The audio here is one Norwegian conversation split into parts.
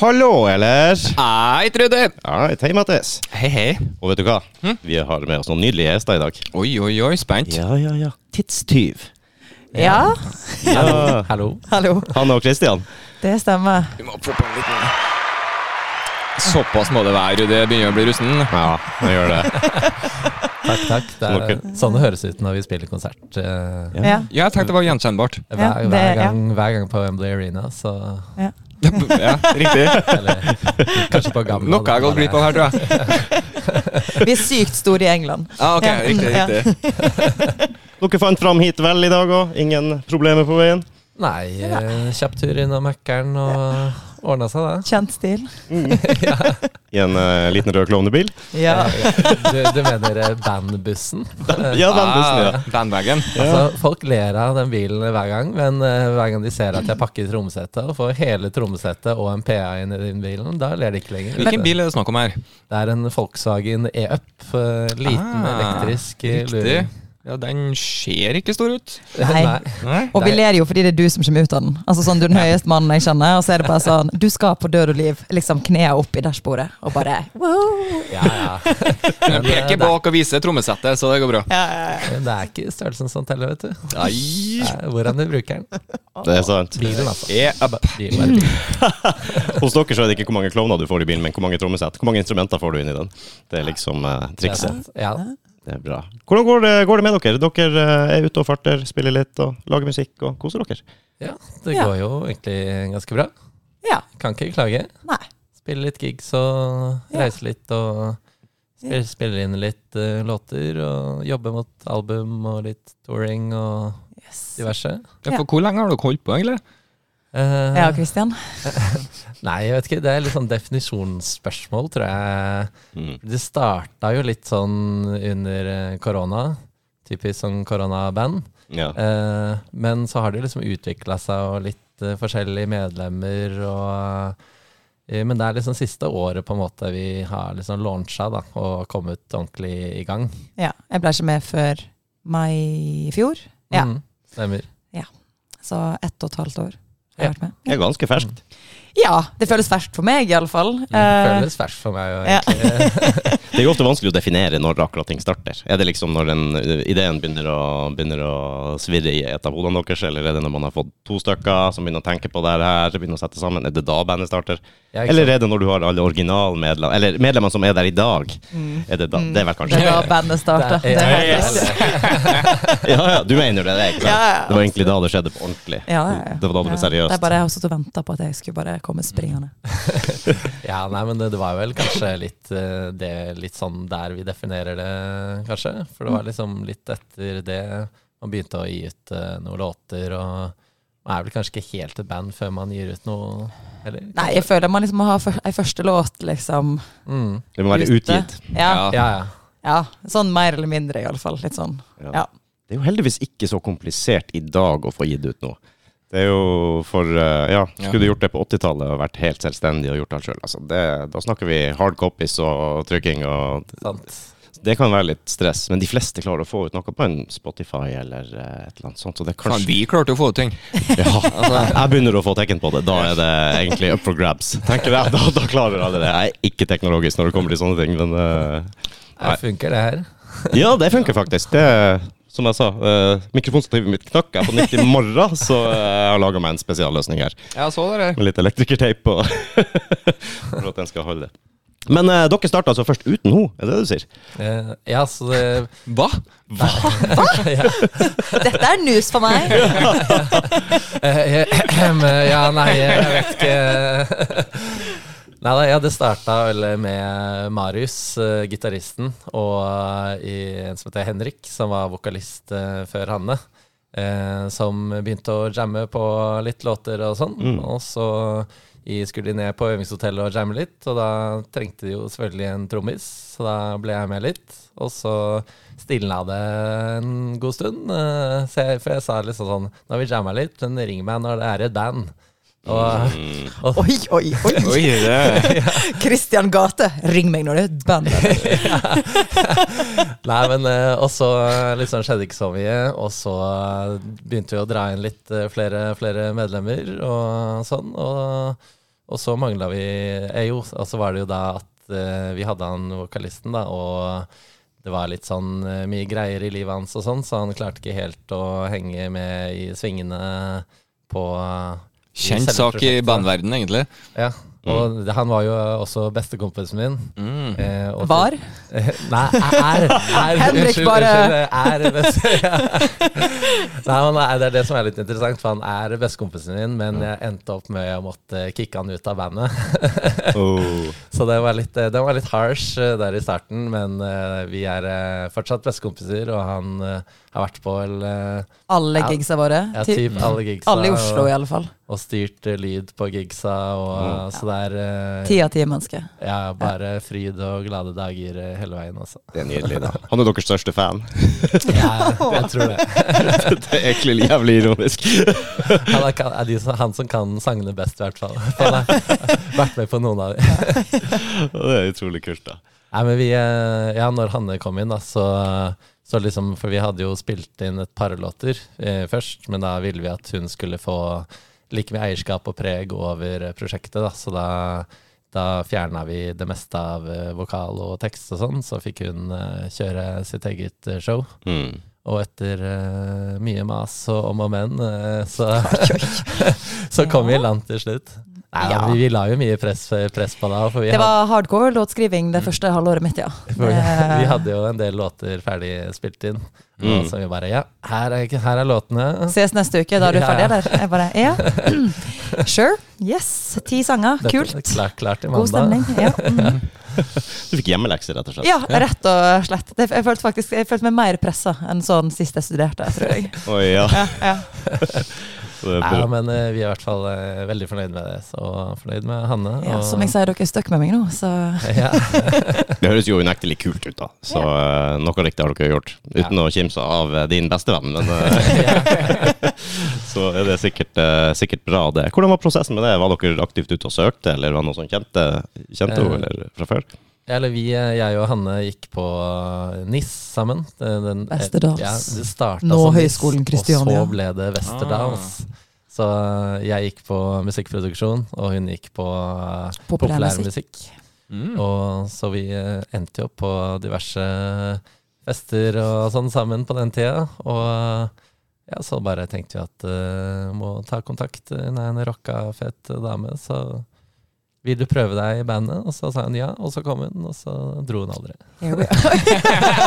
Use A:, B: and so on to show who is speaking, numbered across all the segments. A: Hallo, eller?
B: Hei, Trude!
A: Hei, hei, Mattis.
B: Hei, hei.
A: Og vet du hva? Vi har med oss noen nydelige gjester i dag.
B: Oi, oi, oi, spent.
A: Ja, ja, ja. Tidstyv.
C: Ja,
A: Ja.
D: Hallo.
C: hallo.
A: Han og Christian.
C: Det stemmer.
B: Vi må få på en liten Såpass må det være, Trude. Jeg Begynner å bli rusten.
A: Ja, han gjør det.
D: Takk, takk. Det er sånn det høres ut når vi spiller konsert. eh,
C: Ja.
B: Ja, jeg tenkte det var gjenkjennbart.
C: Ja,
D: Hver,
C: det-
D: hver,
C: ja.
D: gang, hver gang på Wembley Arena, så
B: Ja, riktig.
D: Eller kanskje på gamle
B: Noe jeg har gått glipp av her, tror jeg.
C: Vi er sykt store i England.
B: Ja, ok,
C: Ja,
B: riktig,
C: ja.
B: riktig.
A: Dere fant fram hit vel i dag òg? Ingen problemer på veien?
D: Nei, eh, kjapp tur innom Mækkern og ordna seg, det.
C: Kjent stil.
A: I en eh, liten rød klovnebil?
C: Ja.
D: Du, du mener eh, bandbussen?
A: Ja, den bussen, ja.
B: Ah, Bandwagon.
D: Altså, folk ler av den bilen hver gang, men eh, hver gang de ser at jeg pakker trommesettet og får hele trommesettet og en PA inn i den bilen, da ler de ikke lenger.
B: Hvilken bil er det snakk om her?
D: Det er en Volkswagen E-Up. eh, Liten
B: Ah,
D: elektrisk eh,
B: Riktig.
D: luring.
B: Ja, den ser ikke stor ut.
C: Nei.
B: Nei.
C: Og vi ler jo fordi det er du som kommer ut av den. Altså sånn, Du er den høyeste mannen jeg kjenner, og så er det bare sånn Du skal på død og liv. Liksom knea opp i dashbordet, og bare wow.
D: Ja, ja.
B: Men jeg peker bak og viser trommesettet, så det går bra.
D: Men det er ikke størrelsen som teller, vet du.
B: Nei.
D: Det er Hvordan du bruker den.
A: Det er sant.
D: Bilen, altså.
B: E-up.
D: Bilen er bilen.
A: Hos dere så er det ikke hvor mange klovner du får i bilen, men hvor mange trommesett. Hvor mange instrumenter får du inn i den? Det er liksom eh,
D: Det er
A: trikset.
D: sant. altså. Ja.
A: Det er bra. Hvordan går det, går det med dere? Dere eh, er ute og farter, spiller litt og lager musikk og koser dere?
D: ja, det
C: Ja.
D: går jo egentlig ganske bra.
C: Ja.
D: Kan ikke klage.
C: Nei.
D: Spille litt gigs og
C: Ja.
D: reise litt og spille, spille inn litt eh, låter og jobbe mot album og litt touring og
C: Yes.
D: diverse.
B: Ja, for hvor lenge har dere holdt på, egentlig?
D: Eh,
C: Ja, Christian.
D: Nei, jeg vet ikke. Det er litt sånn definisjonsspørsmål, tror jeg. Det starta jo litt sånn under eh, korona. Typisk sånn koronaband.
A: Ja.
D: Eh, men så har det liksom utvikla seg og litt eh, forskjellige medlemmer og eh, Men det er liksom siste året på en måte vi har liksom launcha da, og kommet ordentlig i gang.
C: Ja. Jeg ble ikke med før mai i fjor, Ja.
D: Mm, stemmer.
C: så ett og et halvt år har jeg vært med.
A: Det er ganske ferskt.
C: Ja, det føles ferskt for meg, iallfall. Uh,
D: Føles ferskt for meg. Og,
C: ja.
A: Det er jo ofte vanskelig å definere når akkurat ting starter. Er det liksom når den ideen begynner å, begynner å svirre i et av hodene deres, eller er det når man har fått to stykker som begynner å tenke på det her, begynner å sette sammen? Er det da bandet starter?
D: Ja, ikke
A: Eller er det når du har alle originalmedlemmene, eller medlemmene som er der i dag? Er det da? Det er vel
C: Mm. det
A: kanskje
C: er da bandet starta.
D: Det er-
B: ja,
A: Ja, ja, du mener det, det, ikke sant?
C: Ja, ja,
A: Det var egentlig da det skjedde på ordentlig.
C: Ja, ja, ja.
A: Det var da det ble
C: Ja. Det
A: seriøst. Mm.
C: er bare jeg har sittet og venta på at jeg skulle bare komme springende.
D: Ja, nei, men det, det var vel kanskje litt, eh, det, litt sånn der vi definerer det, kanskje. For det var liksom litt etter det man begynte å gi ut eh, noen låter, og man er vel kanskje ikke helt et band før man gir ut noe, eller?
C: Nei, jeg føler man liksom må ha før- ei første låt, liksom.
D: Mm.
A: Det må være
C: ute.
A: utgitt.
C: Ja,
D: Ja, ja.
C: ja. Sånn mer eller mindre, iallfall. Litt sånn.
A: Ja.
C: Ja.
A: Det er jo heldigvis ikke så komplisert i dag å få gitt ut noe. Det er jo for eh, Ja, skulle du gjort det på 80-tallet og vært helt selvstendig og gjort alt sjøl, altså det- da snakker vi hard copies og trykking og
D: Sant.
A: Det kan være litt stress, men de fleste klarer å få ut noe på en Spotify eller eh, et eller annet sånt, så det er
B: Faen,
A: kanskje
B: vi klarte å få ut ting.
A: Ja, jeg begynner å få tegn på det. Da er det egentlig up for grabs. Tenker jeg, da, da klarer alle det. Jeg er ikke teknologisk når det kommer til sånne ting, men eh, Nei.
D: Ja, funker det her?
A: Ja, det funker faktisk. Det, som jeg sa, eh, mikrofonstativet mitt knakk jeg på nytt i morgen, så eh, jeg har laga meg en spesialløsning her.
B: Ja, så dere.
A: Med litt elektrikerteip og for at den skal holde. Men eh, dere starta altså først uten henne, er det det du sier?
D: Eh, Ja, så det
B: Hva?
C: Dette er news for meg!
D: Eh, eh, Ja, nei, jeg vet ikke Nei da, ja, det starta vel med Marius, eh, gitaristen, og eh, i- en som heter Henrik, som var vokalist eh, før Hanne. Eh, som begynte å jamme på litt låter og sånn. Og så i- skulle de ned på øvingshotellet og jamme litt, og da trengte de jo selvfølgelig en trommis, så da ble jeg med litt. Og så stilna det en god stund, eh, så jeg, for jeg sa liksom sånn Nå har vi jamma litt, men ring meg når det er et band. Og, og
C: Oi, oi, oi!
B: Oi, det
C: Christian Gate, ring meg når det er et band.
D: Nei, men eh, Og så eh, liksom skjedde ikke så mye. Og så eh, begynte vi å dra inn litt eh, flere, flere medlemmer og sånn. Og Og så mangla vi eh, Jo, og så var det jo da at eh, vi hadde han vokalisten, da, og det var litt sånn eh, mye greier i livet hans og sånn, så han klarte ikke helt å henge med i svingene på i
B: Kjent
D: selve
B: sak i
D: prosjektet.
B: bandverdenen, egentlig.
D: Ja. Og det- han var jo også bestekompisen min. eh, og-
C: Var?
D: Eh, Nei, er, er
C: Henrik
D: unnskyld,
C: bare-
D: unnskyld, er best, ja. Nei, men nei, Det er det som er litt interessant, for han er bestekompisen min,
C: Mm.
D: men jeg endte opp med å måtte kicke han ut av bandet.
A: Oh.
D: Så det var litt, eh, det var litt harsh eh, der i starten, men eh, vi er eh, fortsatt bestekompiser, og han eh, har vært på vel eh,
C: Alle
D: Ja.
C: gigsa våre.
D: ja,
C: Ty-
D: typ alle gigsa.
C: alle i Oslo, i alle fall.
D: Og, og styrt eh, lyd på gigsa, og, eh, så det er eh,
C: Ti av ti mennesker.
D: Ja, bare fryd og glade dager eh, hele veien, altså.
A: Det er nydelig, da. Han er deres største fan.
D: Jeg, jeg tror det.
A: Det er egentlig jævlig ironisk.
D: Han er, kan- er de som, han som kan sangene best, i hvert fall. Han har vært med på noen av dem.
A: Og Det er utrolig kult, da.
D: Nei, men vi, eh, ja, når Hanne kom inn, da, så, så liksom For vi hadde jo spilt inn et par låter eh, først, men da ville vi at hun skulle få like mye eierskap og preg over eh, prosjektet, da, så da da fjerna vi det meste av eh, vokal og tekst og sånn, så fikk hun eh, kjøre sitt eget eh, show.
A: Mm.
D: Og etter eh, mye mas og om og men, eh, så, så kom vi i land til slutt. Nei,
C: Ja.
D: vi, vi la jo mye press, press på deg. For vi,
C: Det
D: hadde,
C: var hardcore låtskriving det første halvåret mitt, ja.
D: for vi,
C: Eh,
D: vi hadde jo en del låter ferdig spilt inn.
A: Mm.
D: Og så vi bare Ja, her er, her er låtene.
C: Ses neste uke, da er du
D: Ja,
C: ferdig,
D: ja.
C: eller? Jeg bare, ja. Sure. Yes. Ti sanger.
D: Dette-
C: Kult.
D: Klart, klart i
C: God
D: mandag.
C: stemning. Ja. Mm.
A: Du fikk hjemmelekser, rett og slett.
C: ja, rett og slett. Det- Jeg følte, faktisk, jeg følte meg mer pressa enn sånn sist jeg studerte, tror jeg.
A: Oi, ja.
C: Ja, ja.
A: Det er
D: Nei,
A: bra.
D: men eh, vi er i hvert fall eh, veldig fornøyd med det. Så fornøyd med Hanne.
C: Ja,
D: og-
C: som jeg sier, dere er stuck med meg nå, så
D: ja.
A: Det høres jo unektelig kult ut, da. Så eh, noe riktig har dere gjort. Uten å kimse av eh, din bestevenn, men eh, Så er det sikkert, eh, sikkert bra, det. Hvordan var prosessen med det? Var dere aktivt ute og søkte, eller var det noen som kjente, kjente henne eller fra før?
D: Eller vi, eh, jeg og Hanne gikk på eh, NIS sammen. Den, den- eh,
C: Beste dans.
D: Ja, det startet
C: Nå
D: som NIS,
C: Høgskolen Kristiania.
D: Og så ble det Westerdals. Så eh, jeg gikk på musikkproduksjon, og hun gikk på eh, populærmusikk.
C: populærmusikk.
D: Mm. Og så vi eh, endte jo opp på diverse fester og sånn sammen på den tida. Og eh, ja, så bare tenkte vi at eh, må ta kontakt. Hun er en rocka fet dame, så vil du prøve deg i bandet? Og så sa hun ja, og så kom hun, og så dro hun aldri.
C: Here we are.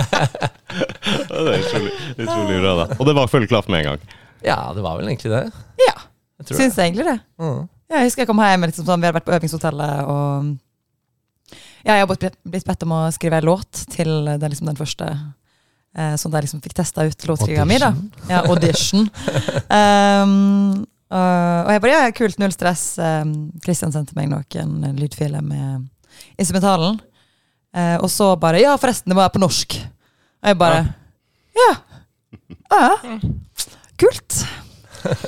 A: Ja, Det er utrolig, utrolig bra, da. Og det var full klaff med en gang.
D: Ja, det var vel egentlig det.
C: Ja,
D: Jeg tror
C: syns jeg egentlig det.
D: det. Mm.
C: Ja, jeg husker jeg kom hjem, liksom, sånn, vi hadde vært på øvingshotellet, og ja, jeg har blitt, blitt bedt om å skrive en låt til den, liksom, den første eh, Sånn at jeg liksom fikk testa ut låtskrivinga mi, da. Ja, audition. um, og, og jeg bare ja, kult, null stress. Um, Christian sendte meg noen lydfiler med instrumentalen. Eh, og så bare Ja, forresten, det må være på norsk. Og jeg bare Ja. ja. Kult.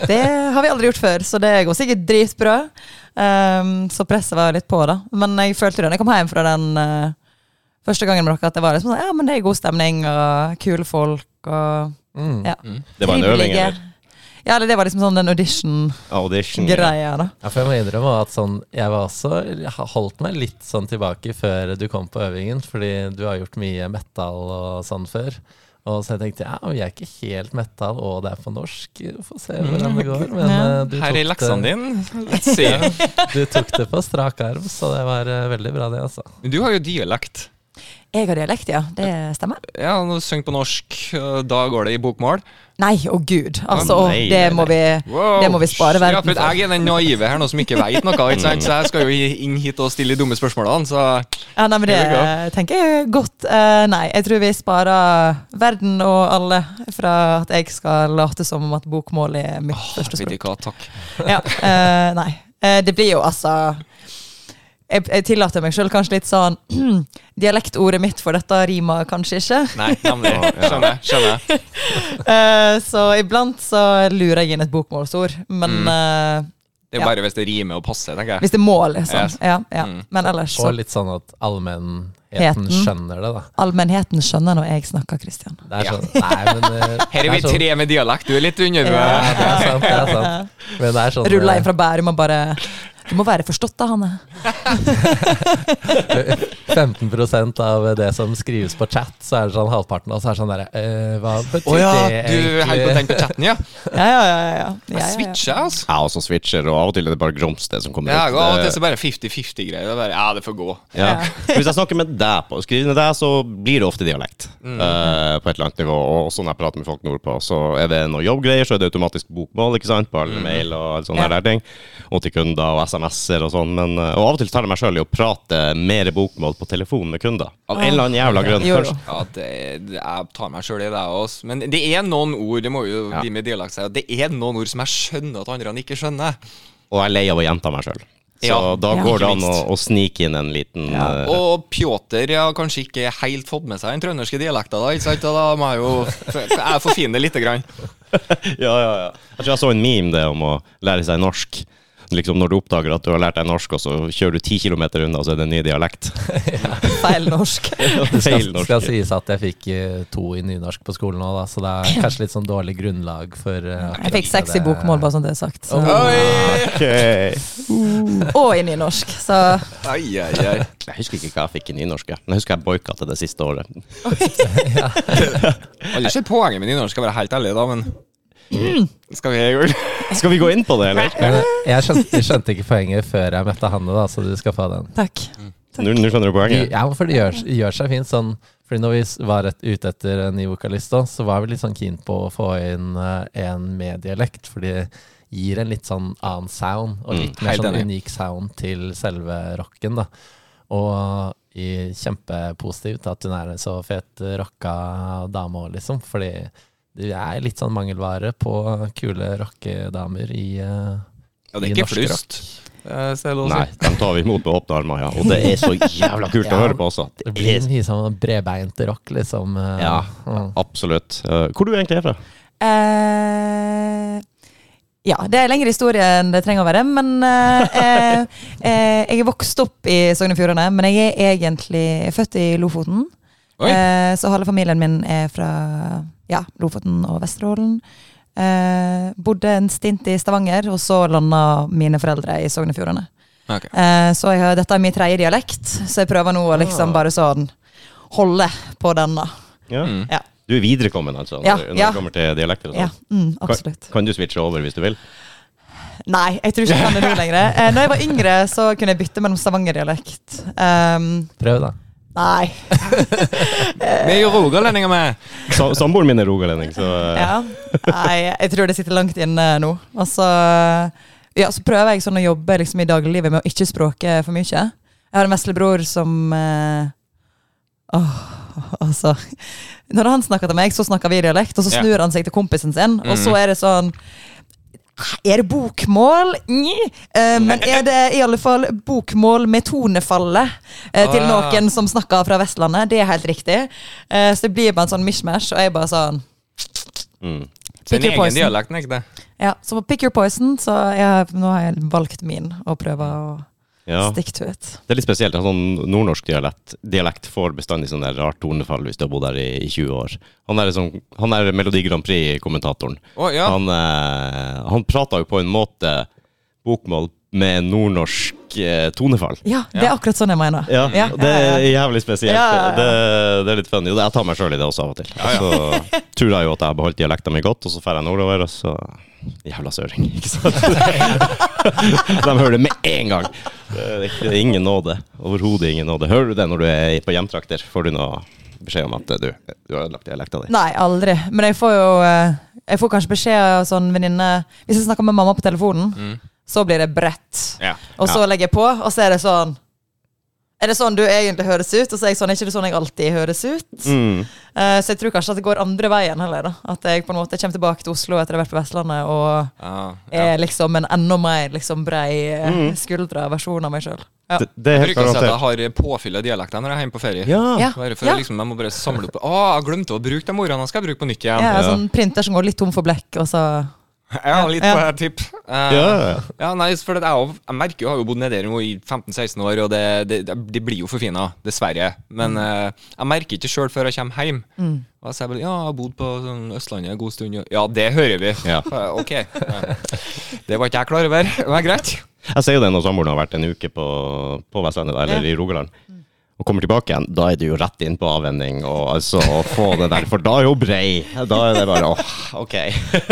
C: Det har vi aldri gjort før, så det går sikkert dritbra. Um, så presset var litt på, da. Men jeg følte det når jeg kom hjem fra den eh, første gangen med dere, at det var liksom sånn, ja, men det er god stemning og kule folk og
D: Mm.
C: ja,
A: Det var en øving,
C: trivelige.
A: eller?
C: Ja, eller det var liksom sånn den audition-greia,
A: Audition.
C: da.
D: Ja, for jeg må innrømme at sånn, jeg var også jeg har holdt meg litt sånn tilbake før du kom på øvingen, fordi du har gjort mye metal og sånn før. Og så jeg tenkte ja, vi er ikke helt metal, og det er på norsk. Få se hvordan det går. Men
C: Mm. Ja.
D: eh, du,
B: Her i
D: tok
B: leksene
D: det,
B: dine. Let's see.
D: du tok det på strak arm, så det var eh, veldig bra, det, altså.
B: Men Du har jo dialekt.
C: Jeg har dialekt, ja. Det stemmer.
B: Ja, når du synger på norsk, øh, da går det i bokmål.
C: Nei, å gud. Altså,
A: Å,
C: å,
A: nei,
C: det
A: nei,
C: må vi
B: Wow.
C: Det må vi spare
B: Ja,
C: verden
B: for
C: for.
B: jeg er den naive her nå som ikke veit noe, ikke sant? så jeg skal jo inn hit og stille de dumme spørsmålene. Så
C: Ja, nei, men det
B: Here we
C: tenker jeg er godt. Eh, nei, jeg tror vi sparer verden og alle fra at jeg skal late som om at bokmål er mitt første
B: vet
C: språk.
B: ikke hva, takk.
C: Ja, eh, nei. Eh, det blir jo altså jeg, jeg tillater meg sjøl kanskje litt sånn Dialektordet mitt for dette rimer kanskje ikke.
B: Nei, nemlig. Skjønner. skjønner.
C: Eh, så iblant så lurer jeg inn et bokmålsord. Men
B: Mm.
C: eh,
B: Det er
C: Ja.
B: bare hvis det rimer og passer, tenker jeg.
C: hvis det er mål, liksom.
B: Yes.
C: Ja, ja.
B: Mm.
C: Men ellers så
D: Og litt sånn at allmennheten Eten
C: Heten.
D: skjønner det, da.
C: Allmennheten skjønner når jeg snakker, Christian.
D: Det er
B: Ja.
D: sånn, nei, men eh,
B: Her
D: det
B: er vi
D: sånn-
B: tre med dialekt. Du er litt under. eh,
C: Ja.
D: Ja, det er sant, det er sant. Men det er sånn
C: Rulla
D: eh,
C: inn fra Bærum og bare Du må være forstått, da, Hanne.
D: 15 av det som skrives på chat, så er det sånn halvparten, og så er det sånn derre eh, Hva betyr
B: Å ja,
D: det
B: du holder på å tenke på chatten, ja?
C: Ja, ja, ja. ja, ja. ja,
B: Jeg
C: ja, ja.
B: switcher, altså.
A: Jeg også switcher, og av og til er det bare grums det som kommer
B: Ja, og av og
A: Det-
B: til så bare 50-50-greier. Det er bare, Ja, det får gå.
A: Ja.
C: Ja.
A: Hvis jeg snakker med deg på skriver med deg, så blir det ofte dialekt.
C: Mm.
A: eh, på et eller annet nivå. Og også når jeg prater med folk nordpå, så er det noe jobbgreier, så er det automatisk bokmål ikke sant? på alle mail og sånne
C: Mm.
A: der
C: Ja.
A: ting. Og til kunder og SMS-er og sånn. Men, eh, og av og til tar jeg meg sjøl i å prate mer bokmål på telefonen med kunder. Av en eller annen jævla grunn.
C: Ah. Jo, jo.
A: Først.
B: Ja, det, det, jeg tar meg sjøl i det, jeg også. Men det er noen ord det må jo
A: Ja.
B: bli med dialekt, seg, det er noen ord som jeg skjønner at andre ikke skjønner.
A: Og jeg er lei av å gjenta meg sjøl. Så
B: Ja.
A: da
C: Ja.
A: går det an
B: Ikke
A: å,
B: minst.
A: å snike inn en liten eh,
B: Og Pjotr har kanskje ikke helt fått med seg den trønderske dialekta, da. Ikke sant? Og da må jeg jo Jeg forfiner det lite grann.
A: ja, ja, ja. Jeg tror jeg så en meme det om å lære seg norsk. Liksom Når du oppdager at du har lært deg norsk, og så kjører du ti kilometer unna, og så er det en ny dialekt.
C: Feil norsk.
D: Det skal,
A: Feil norsk.
D: skal sies at jeg fikk eh, to i nynorsk på skolen òg, da, så det er kanskje litt sånn dårlig grunnlag for eh,
C: Jeg fikk seks i
D: det-
C: bokmål, bare sånn det er sagt. Så.
B: Oi!
A: Okay.
C: Og i nynorsk. Så
B: Ai, ai, ai.
A: Jeg husker ikke hva jeg fikk i nynorsk. jeg. Men jeg husker jeg boikotta det siste året.
B: Alle ser poenget med nynorsk, skal være helt ærlig, da, men Skal vi gjøre det?
A: Skal vi gå inn på det, eller?
D: Men Jeg skjønte, jeg skjønte ikke poenget før jeg møtte Hanne, da, så du skal få den.
C: takk.
A: Nå nå skjønner du
D: De-
A: poenget?
D: Ja, for det gjør, gjør seg fint sånn. Fordi når vi s- var et, ute etter en ny vokalist, da, så var vi litt sånn keen på å få inn eh, en med dialekt. For det gir en litt sånn annen sound,
A: Mm.
D: og litt mer
B: helt
D: sånn
B: enig.
D: unik sound til selve rocken. da. Og i- kjempepositivt at hun er en så fet eh, rocka dame òg, liksom. Fordi det er litt sånn mangelvare på kule rockedamer i eh,
B: Ja, det er
D: i
B: ikke
D: norsk
B: flust. Eh, så er det lov å si.
A: Nei, de tar vi imot med åpne armer, ja. Og det er så jævla kult å
D: Ja.
A: høre på også.
D: Det
A: Det
D: blir
A: er
D: mye sånn bredbeint rock, liksom. eh,
A: Ja.
D: mm.
A: Absolutt. Eh, Hvor du egentlig er fra?
C: Eh, ja, det er lengre historie enn det trenger å være, men eh, eh, eh, Jeg er vokst opp i Sogn og Fjordane, men jeg er egentlig født i Lofoten.
B: Oi.
C: Eh, så halve familien min er fra ja, Lofoten og Vesterålen. Eh, bodde en stint i Stavanger, og så landa mine foreldre i Sogn og Fjordane.
B: Ok.
C: Eh, så jeg, har- dette er min tredje dialekt, så jeg prøver nå å liksom bare sånn holde på den, da.
A: Ja.
B: Mm.
C: Ja,
A: Du er viderekommen, altså,
C: Ja,
A: når, når
C: ja.
A: det kommer til dialekter og
C: ja
A: sånn.
C: mm, absolutt.
A: Kan du switche over hvis du vil?
C: Nei, jeg tror ikke jeg kan det nå lenger. Eh, når jeg var yngre, så kunne jeg bytte mellom stavangerdialekt. Um,
D: Prøv, da.
C: nei.
B: Vi er jo rogalendinger, vi.
A: Sa- Samboeren min er rogalending, så eh,
C: Ja. nei. Jeg tror det sitter langt inne nå. Og så, ja, så prøver jeg sånn å jobbe liksom, i dagliglivet med å ikke språke for mye. Jeg har en veslebror som eh, Åh, altså Når han snakker til meg, så snakker vi dialekt, og så
B: Ja. Mm.
C: snur han seg til kompisen sin, og så er det sånn Er det bokmål? Nj. Eh, men er det i alle fall bokmål med tonefallet eh, til
B: Ah.
C: noen som snakker fra Vestlandet? Det er helt riktig. Eh, så det blir bare en sånn mishmash, og jeg bare sånn
A: mm.
B: Det er en
C: Pick your
B: egen dialekt, er ikke det?
C: Ja, så på pick your poison, så jeg, nå har jeg valgt min og prøver å
A: ja.
C: stick to it.
A: Det er litt spesielt. En sånn nordnorsk dialekt, dialekt får bestandig sånn der rart tonefall hvis du har bodd her i, i 20 år. Han er, sånn, han er Melodi Grand Prix-kommentatoren.
B: Å, ja.
A: Han, eh, han prater jo på en måte bokmål med nordnorsk eh, tonefall.
C: Ja, det er akkurat sånn jeg mener.
A: Ja,
C: Ja,
A: det
C: ja,
A: er jævlig spesielt.
C: Ja, ja, ja.
A: Det, det er litt funny. Og Jeg tar meg sjøl i det også av og til. Så tror jeg jo at jeg har beholdt dialekta mi godt, og så drar jeg nordover, og så Jævla søring, ikke sant? De hører det med en gang. Det er ikke- det er ingen nåde. Overhodet ingen nåde. Hører du det når du er på hjemtrakter? Får du noe beskjed om at eh, du, du har ødelagt dialekta di?
C: Nei, aldri. Men jeg får jo eh, Jeg får kanskje beskjed av sånn venninne Hvis jeg snakker med mamma på telefonen, så blir det bredt.
B: Mm. Ja.
C: Og så legger jeg på, og så er det sånn Er det sånn du egentlig høres ut? Og så er jeg sånn, er ikke det sånn jeg alltid høres ut?
A: Mm.
C: Eh, så jeg tror kanskje at det går andre veien heller. da At jeg på en måte kommer tilbake til Oslo etter å ha vært på Vestlandet og
B: Ja, ja. Mm.
C: er liksom en enda mer liksom brei eh, skuldra versjon av meg sjøl. Ja.
A: Det, det er
B: Jeg
A: helt
B: bruker å si at jeg
A: garantert.
B: har påfyll av dialekter når jeg er hjemme på ferie.
A: Ja.
C: Ja.
B: Bare for å liksom, jeg må bare samle opp Å, jeg glemte å bruke de ordene, jeg skal bruke på nytt igjen.
C: Jeg er
A: Ja.
C: sånn printer som går litt tom for blekk, og så
B: Ja, litt på
C: Ja.
B: tipp. Eh,
A: Ja.
B: ja, nei, for det er jo, jeg merker jo, jeg har jo bodd nede her nå i 15-16 år, og det, det, det blir jo forfina, dessverre. Men eh, jeg merker ikke sjøl før jeg kommer hjem. Og jeg sier bare ja, jeg har bodd på sånn, Østlandet en god stund. og- Ja, det hører vi.
A: Ja.
B: Eh, Ok. Ja. Det var ikke jeg klar over. Det var greit.
A: Jeg sier jo det når samboeren har vært en uke på, på Vestlandet, eller i Rogaland. Og kommer tilbake igjen, da er du jo rett inn på avvenning. Og altså, å få det der, for da er hun brei. Da er det bare åh, ok.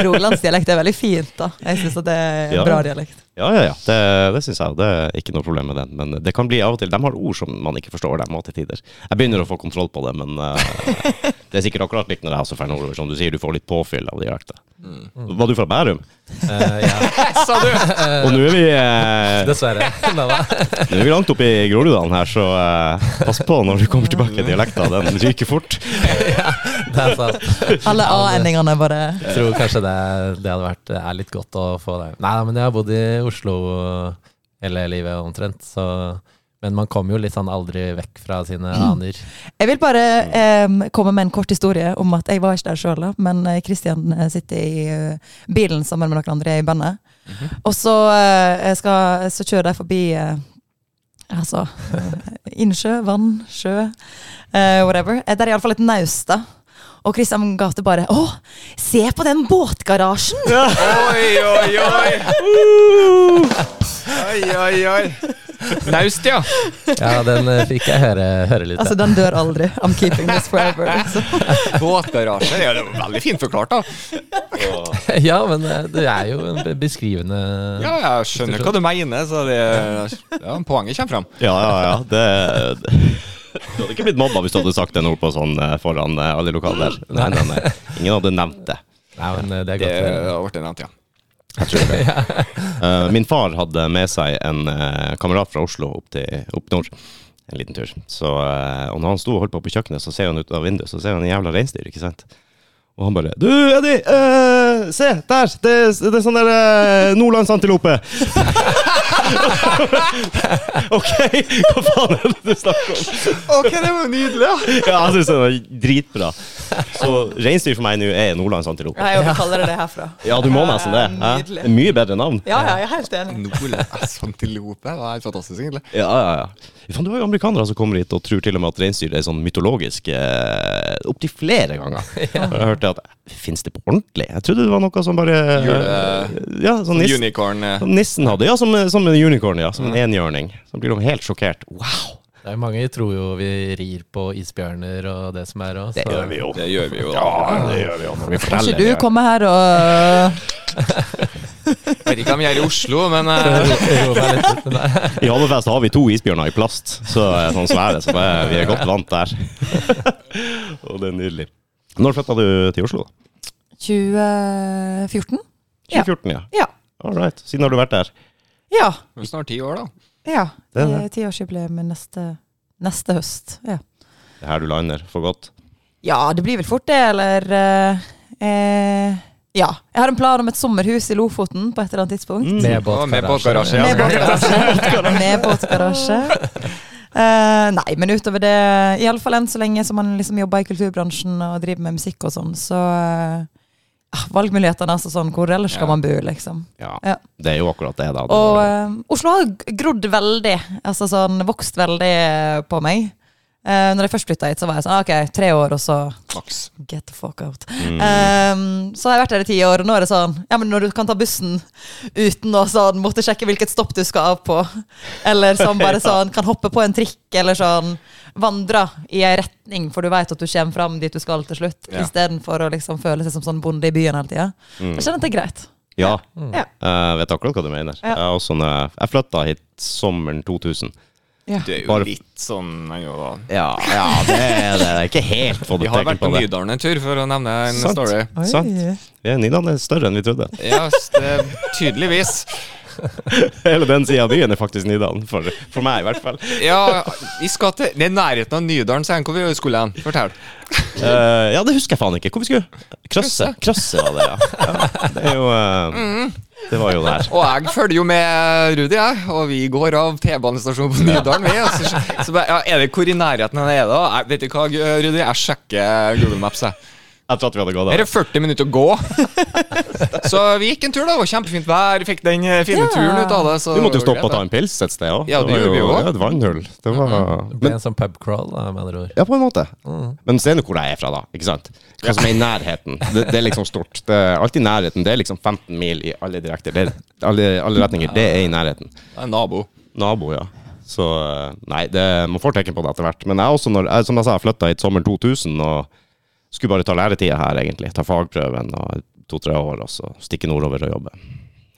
C: Rogalandsdialekt er veldig fint, da. Jeg syns det er en
A: Ja.
C: bra dialekt.
A: Ja, ja, ja. Det, det syns jeg. Det er ikke noe problem med den. Men det kan bli av og til. De har ord som man ikke forstår dem og til tider. Jeg begynner å få kontroll på det, men eh, det er sikkert akkurat likt når jeg også drar nordover. Som du sier, du får litt påfyll av dialekta. Var du fra Bærum?
D: Mm. Eh, ja.
B: Sa du!
A: Og nå er vi eh,
D: Dessverre. Da var
A: Nå er vi langt oppe i Groruddalen her, så eh, pass på når du kommer tilbake. Dialekta den ryker fort.
D: det er sant.
C: Alle a-endingene bare
D: Jeg tror kanskje det, det hadde vært er litt godt å få det. Nei, men jeg har bodd i Oslo hele livet omtrent, så men man kommer jo litt sånn aldri vekk fra sine aner.
C: Jeg vil bare em, komme med en kort historie om at jeg var ikke der sjøl, men eh, Christian eh, sitter i eh, bilen sammen med noen andre i bandet. Og så, eh, skal, så kjører de forbi eh, altså, eh, innsjø, vann, sjø, eh, whatever. Eh, Det er iallfall et naust, da. Og Christian Gate bare Å, se på den båtgarasjen!
B: Oi, oi, oi! Oi, oi, oi. Naust, ja.
D: Ja, den eh, fikk jeg høre, høre litt.
C: Altså,
D: Altså,
C: den dør aldri. I'm keeping this forever. liksom.
B: Båtgarasje. Ja, det var veldig fint forklart, da.
D: ja, men eh, det er jo en be- beskrivende
B: Ja, jeg skjønner hva du mener, så det, ja, poenget kommer fram.
A: Ja, ja, ja. Det, du hadde ikke blitt mobba hvis du hadde sagt det nord på sånn eh, foran eh, alle lokaler. Nei, nei, nei. Ingen hadde nevnt det.
D: Nei, men eh, det er
B: Det
D: godt. å høre.
B: har vært nevnt, ja.
A: Jeg tror det. Eh, min far hadde med seg en eh, kamerat fra Oslo opp til opp nord. En liten tur. Så, eh, og når han sto og holdt på på kjøkkenet, så ser han ut av vinduet, så ser han en jævla reinsdyr, ikke sant? Og han bare Du, Eddie! eh, se! Der! Det, det er sånn der eh, nordlandsantilope! ok, hva faen er det du snakker om?
B: Ok, det var nydelig, ja.
A: Ja, jeg syns det var dritbra. Så reinsdyr for meg nå er nordlandsantilope.
C: Jeg kaller det det herfra.
A: Ja, du må nesten det. hæ?
C: Nydelig.
A: Mye bedre navn.
C: Ja, ja, jeg er helt enig.
B: Nordlandsantilope. Det var helt fantastisk, egentlig.
A: Ja, ja, ja. Fan, du har jo amerikanere som kommer hit og tror til og med at reinsdyr er sånn mytologisk eh, opptil flere ganger. Jeg hørte at Fins det på ordentlig? Jeg trodde det var noe som bare
B: Jule-
A: Ja, sånn nissen,
B: Unicorn. eh,
A: som nissen hadde. Ja, som, som en unicorn, ja. Som en enhjørning. Så blir de helt sjokkert. Wow!
D: Det er jo mange tror jo vi rir på isbjørner og det som er òg.
A: Det gjør vi jo.
B: Det gjør vi jo.
A: Ja,
B: da.
A: det gjør vi jo når vi
C: Kan
A: forteller
C: ikke du
A: det.
C: komme her og
B: Jeg vet ikke hva de gjør i Oslo, men eh,
A: I Hammerfest har vi to isbjørner i plast, så eh, sånn svære, så det, vi er godt vant der. og det er nydelig. Når flytta du til Oslo?
C: 2014? Ja.
A: 2014, ja.
C: Ja.
A: All right. Siden har du vært der?
C: Ja.
B: det er snart ti år, da.
C: ja.
A: Det er det.
C: Tiårsjubileum neste, neste høst. Ja.
A: Det er her du lander for godt.
C: ja, det blir vel fort det, eller eh, eh, Ja. Jeg har en plan om et sommerhus i Lofoten på et eller annet tidspunkt.
D: Mm. Med
B: Og med
D: båtgarasje.
B: båtgarasje.
C: Med
B: Mm. Ja.
C: båtgarasje. Med båtgarasje. Eh, nei, men utover det Iallfall enn så lenge som man liksom jobber i kulturbransjen og driver med musikk og sånn, så eh, Valgmulighetene, altså sånn. Hvor ellers skal
B: Ja.
C: man bo, liksom?
A: Ja.
C: Ja.
A: Det er jo akkurat det, da.
C: Og eh, Oslo har g- grodd veldig, altså sånn vokst veldig eh, på meg. Eh, når jeg først flytta hit, så var jeg sånn ah, ok, tre år, og så
B: Maks.
C: get the fuck out. Eh, så har jeg vært her i ti år, og nå er det sånn ja, men når du kan ta bussen uten å sånn, måtte sjekke hvilket stopp du skal av på, eller sånn bare sånn kan hoppe på en trikk, eller sånn vandre i ei retning, for du veit at du kommer fram dit du skal til slutt,
B: Ja.
C: istedenfor å liksom føle seg som sånn bonde i byen hele tida. Jeg kjenner at det er greit.
A: ja.
C: Ja.
A: Jeg vet akkurat hva du mener.
C: Ja.
A: Jeg, er også når jeg, jeg flytta hit sommeren 2000.
C: Ja.
B: Det er jo
A: Bare-
B: litt sånn jeg gjør da.
A: Ja, ja det er det. Jeg er ikke helt fått
B: Vi har vært
A: på
B: på
A: det.
B: Nydalen en tur, for å nevne en
A: Sant.
B: story.
C: Oi.
A: Sant. Ja, Nydalen er større enn vi trodde.
B: Ja, s- det, tydeligvis.
A: Hele den sida av byen er faktisk Nydalen, for, for meg i hvert fall.
B: Ja, vi skal til Det er nærheten av Nydalen, sier han. Hvor vi skulle hen? Fortell.
A: Eh, ja, det husker jeg faen ikke. Hvor vi skulle Krøsse. Krøsse var det, ja. ja det er jo eh, Det var jo der.
B: Og jeg følger jo med Rudi, jeg. Og vi går av T-banestasjonen på Nydalen. Vi, og så, så bare, ja, er det hvor i nærheten den er, da? Jeg, vet du hva, Gu- Rudi? Jeg sjekker Google Maps. Jeg.
A: Jeg tror at vi hadde gått
B: Er
A: der.
B: det 40 minutter å gå? Så vi gikk en tur, da. Det var kjempefint vær. Fikk den eh, fine
C: Ja.
B: turen ut av det. Så
A: Du måtte jo stoppe og
B: greit,
A: ta en pils et sted òg.
B: Ja, det gjorde vi jo.
A: Et vannhull. Det var
D: Det ble
A: Men
D: en sånn pubcrawl, da, med andre ord.
A: ja, på en måte. Men se nå hvor jeg er fra, da. Ikke sant? Hva som er i nærheten. Det, det er liksom stort. Det er alltid nærheten. Det er liksom 15 mil i alle, direkte, det, alle, alle retninger. Det er i nærheten.
B: det. Det er en nabo.
A: Nabo, ja. Så eh, nei, det, man får tekken på det etter hvert. Men jeg også, når, jeg, som jeg sa, jeg flytta hit sommeren 2000 og skulle bare ta læretida her, egentlig. Ta fagprøven og to-tre år, og så stikke nordover og jobbe.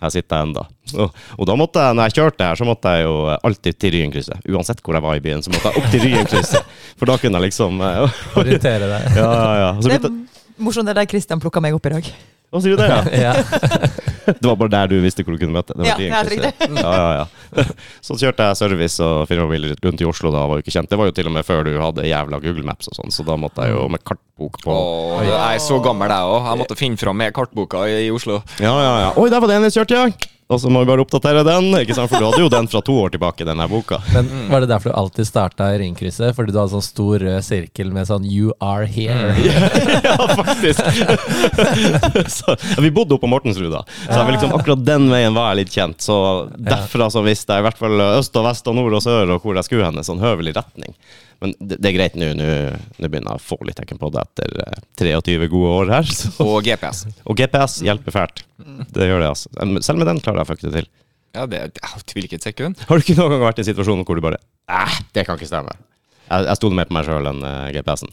A: Her sitter jeg enda. Og, og da måtte jeg, når jeg kjørte her, så måtte jeg jo alltid til Ryenkrysset. Uansett hvor jeg var i byen, så måtte jeg opp til Ryenkrysset. For da kunne jeg liksom eh,
D: Orientere deg.
A: Ja, ja, ja. Og så
C: Det
A: begynte
C: er morsomt det der Christian plukka meg opp i dag.
A: Å, sier du det, ja?
D: Ja.
A: Det var bare der du visste hvor du kunne møte. Det var
C: Ja,
A: din
C: helt
A: kryss, ja. Ja, ja, ja. Så kjørte jeg service og firmabiler rundt i Oslo da, var jo ikke kjent. Det var jo til og med før du hadde jævla Google Maps og sånn, så da måtte jeg jo med kartbok på.
B: Åh, jeg er så gammel, jeg òg. Jeg måtte finne fram med kartboka i, i Oslo.
A: Ja, ja, ja. Oi, der var det en jeg kjørte, ja! Og så må vi bare oppdatere den, ikke sant? For du hadde jo den fra to år tilbake, den her boka.
D: Men var det derfor du alltid starta i ringkrysset? Fordi du hadde sånn stor rød sirkel med sånn 'you are here'?
A: ja, faktisk! så, ja, vi bodde oppe på Mortensrud, da. Så jeg var liksom, akkurat den veien var jeg litt kjent. Så derfra så visste jeg i hvert fall øst og vest og nord og sør og hvor jeg skulle hen. en Sånn høvelig retning. Men det, det er greit nå. Nå nå begynner jeg å få litt tekken på det etter eh, 23 gode år her. Så.
B: Og GPS.
A: Og GPS hjelper fælt. Det gjør det, altså. Men Selv med den klarer jeg å fucke det til.
B: Ja, det jeg tviler ikke et sekund.
A: Har du ikke noen gang vært i en situasjon hvor du bare Æh, det kan ikke stemme. Jeg, jeg sto mer på meg sjøl enn eh, GPS-en.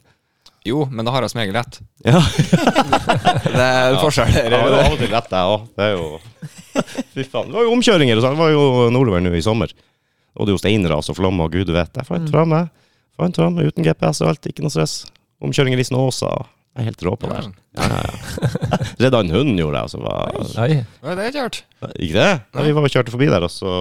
B: Jo, men da har jeg som regel rett.
A: Ja.
B: Det er en forskjell her.
A: Ja, det var av og til lett, jeg òg. Det er jo Fy faen. Det var jo omkjøringer og sånn. Det var jo nordover nå i sommer. Og det er jo steinras og flom og gud vet. Jeg fant fram, jeg. Fant fram uten GPS og alt. Ikke noe stress. Omkjøringer i Snåsa. Jeg er helt rå på det her. Ja, ja, ja. Redda en hund, gjorde altså, jeg. Så var,
D: Oi.
B: Ja, det er ikke hørt.
A: ikke det? Ja, vi var og kjørte forbi der, og så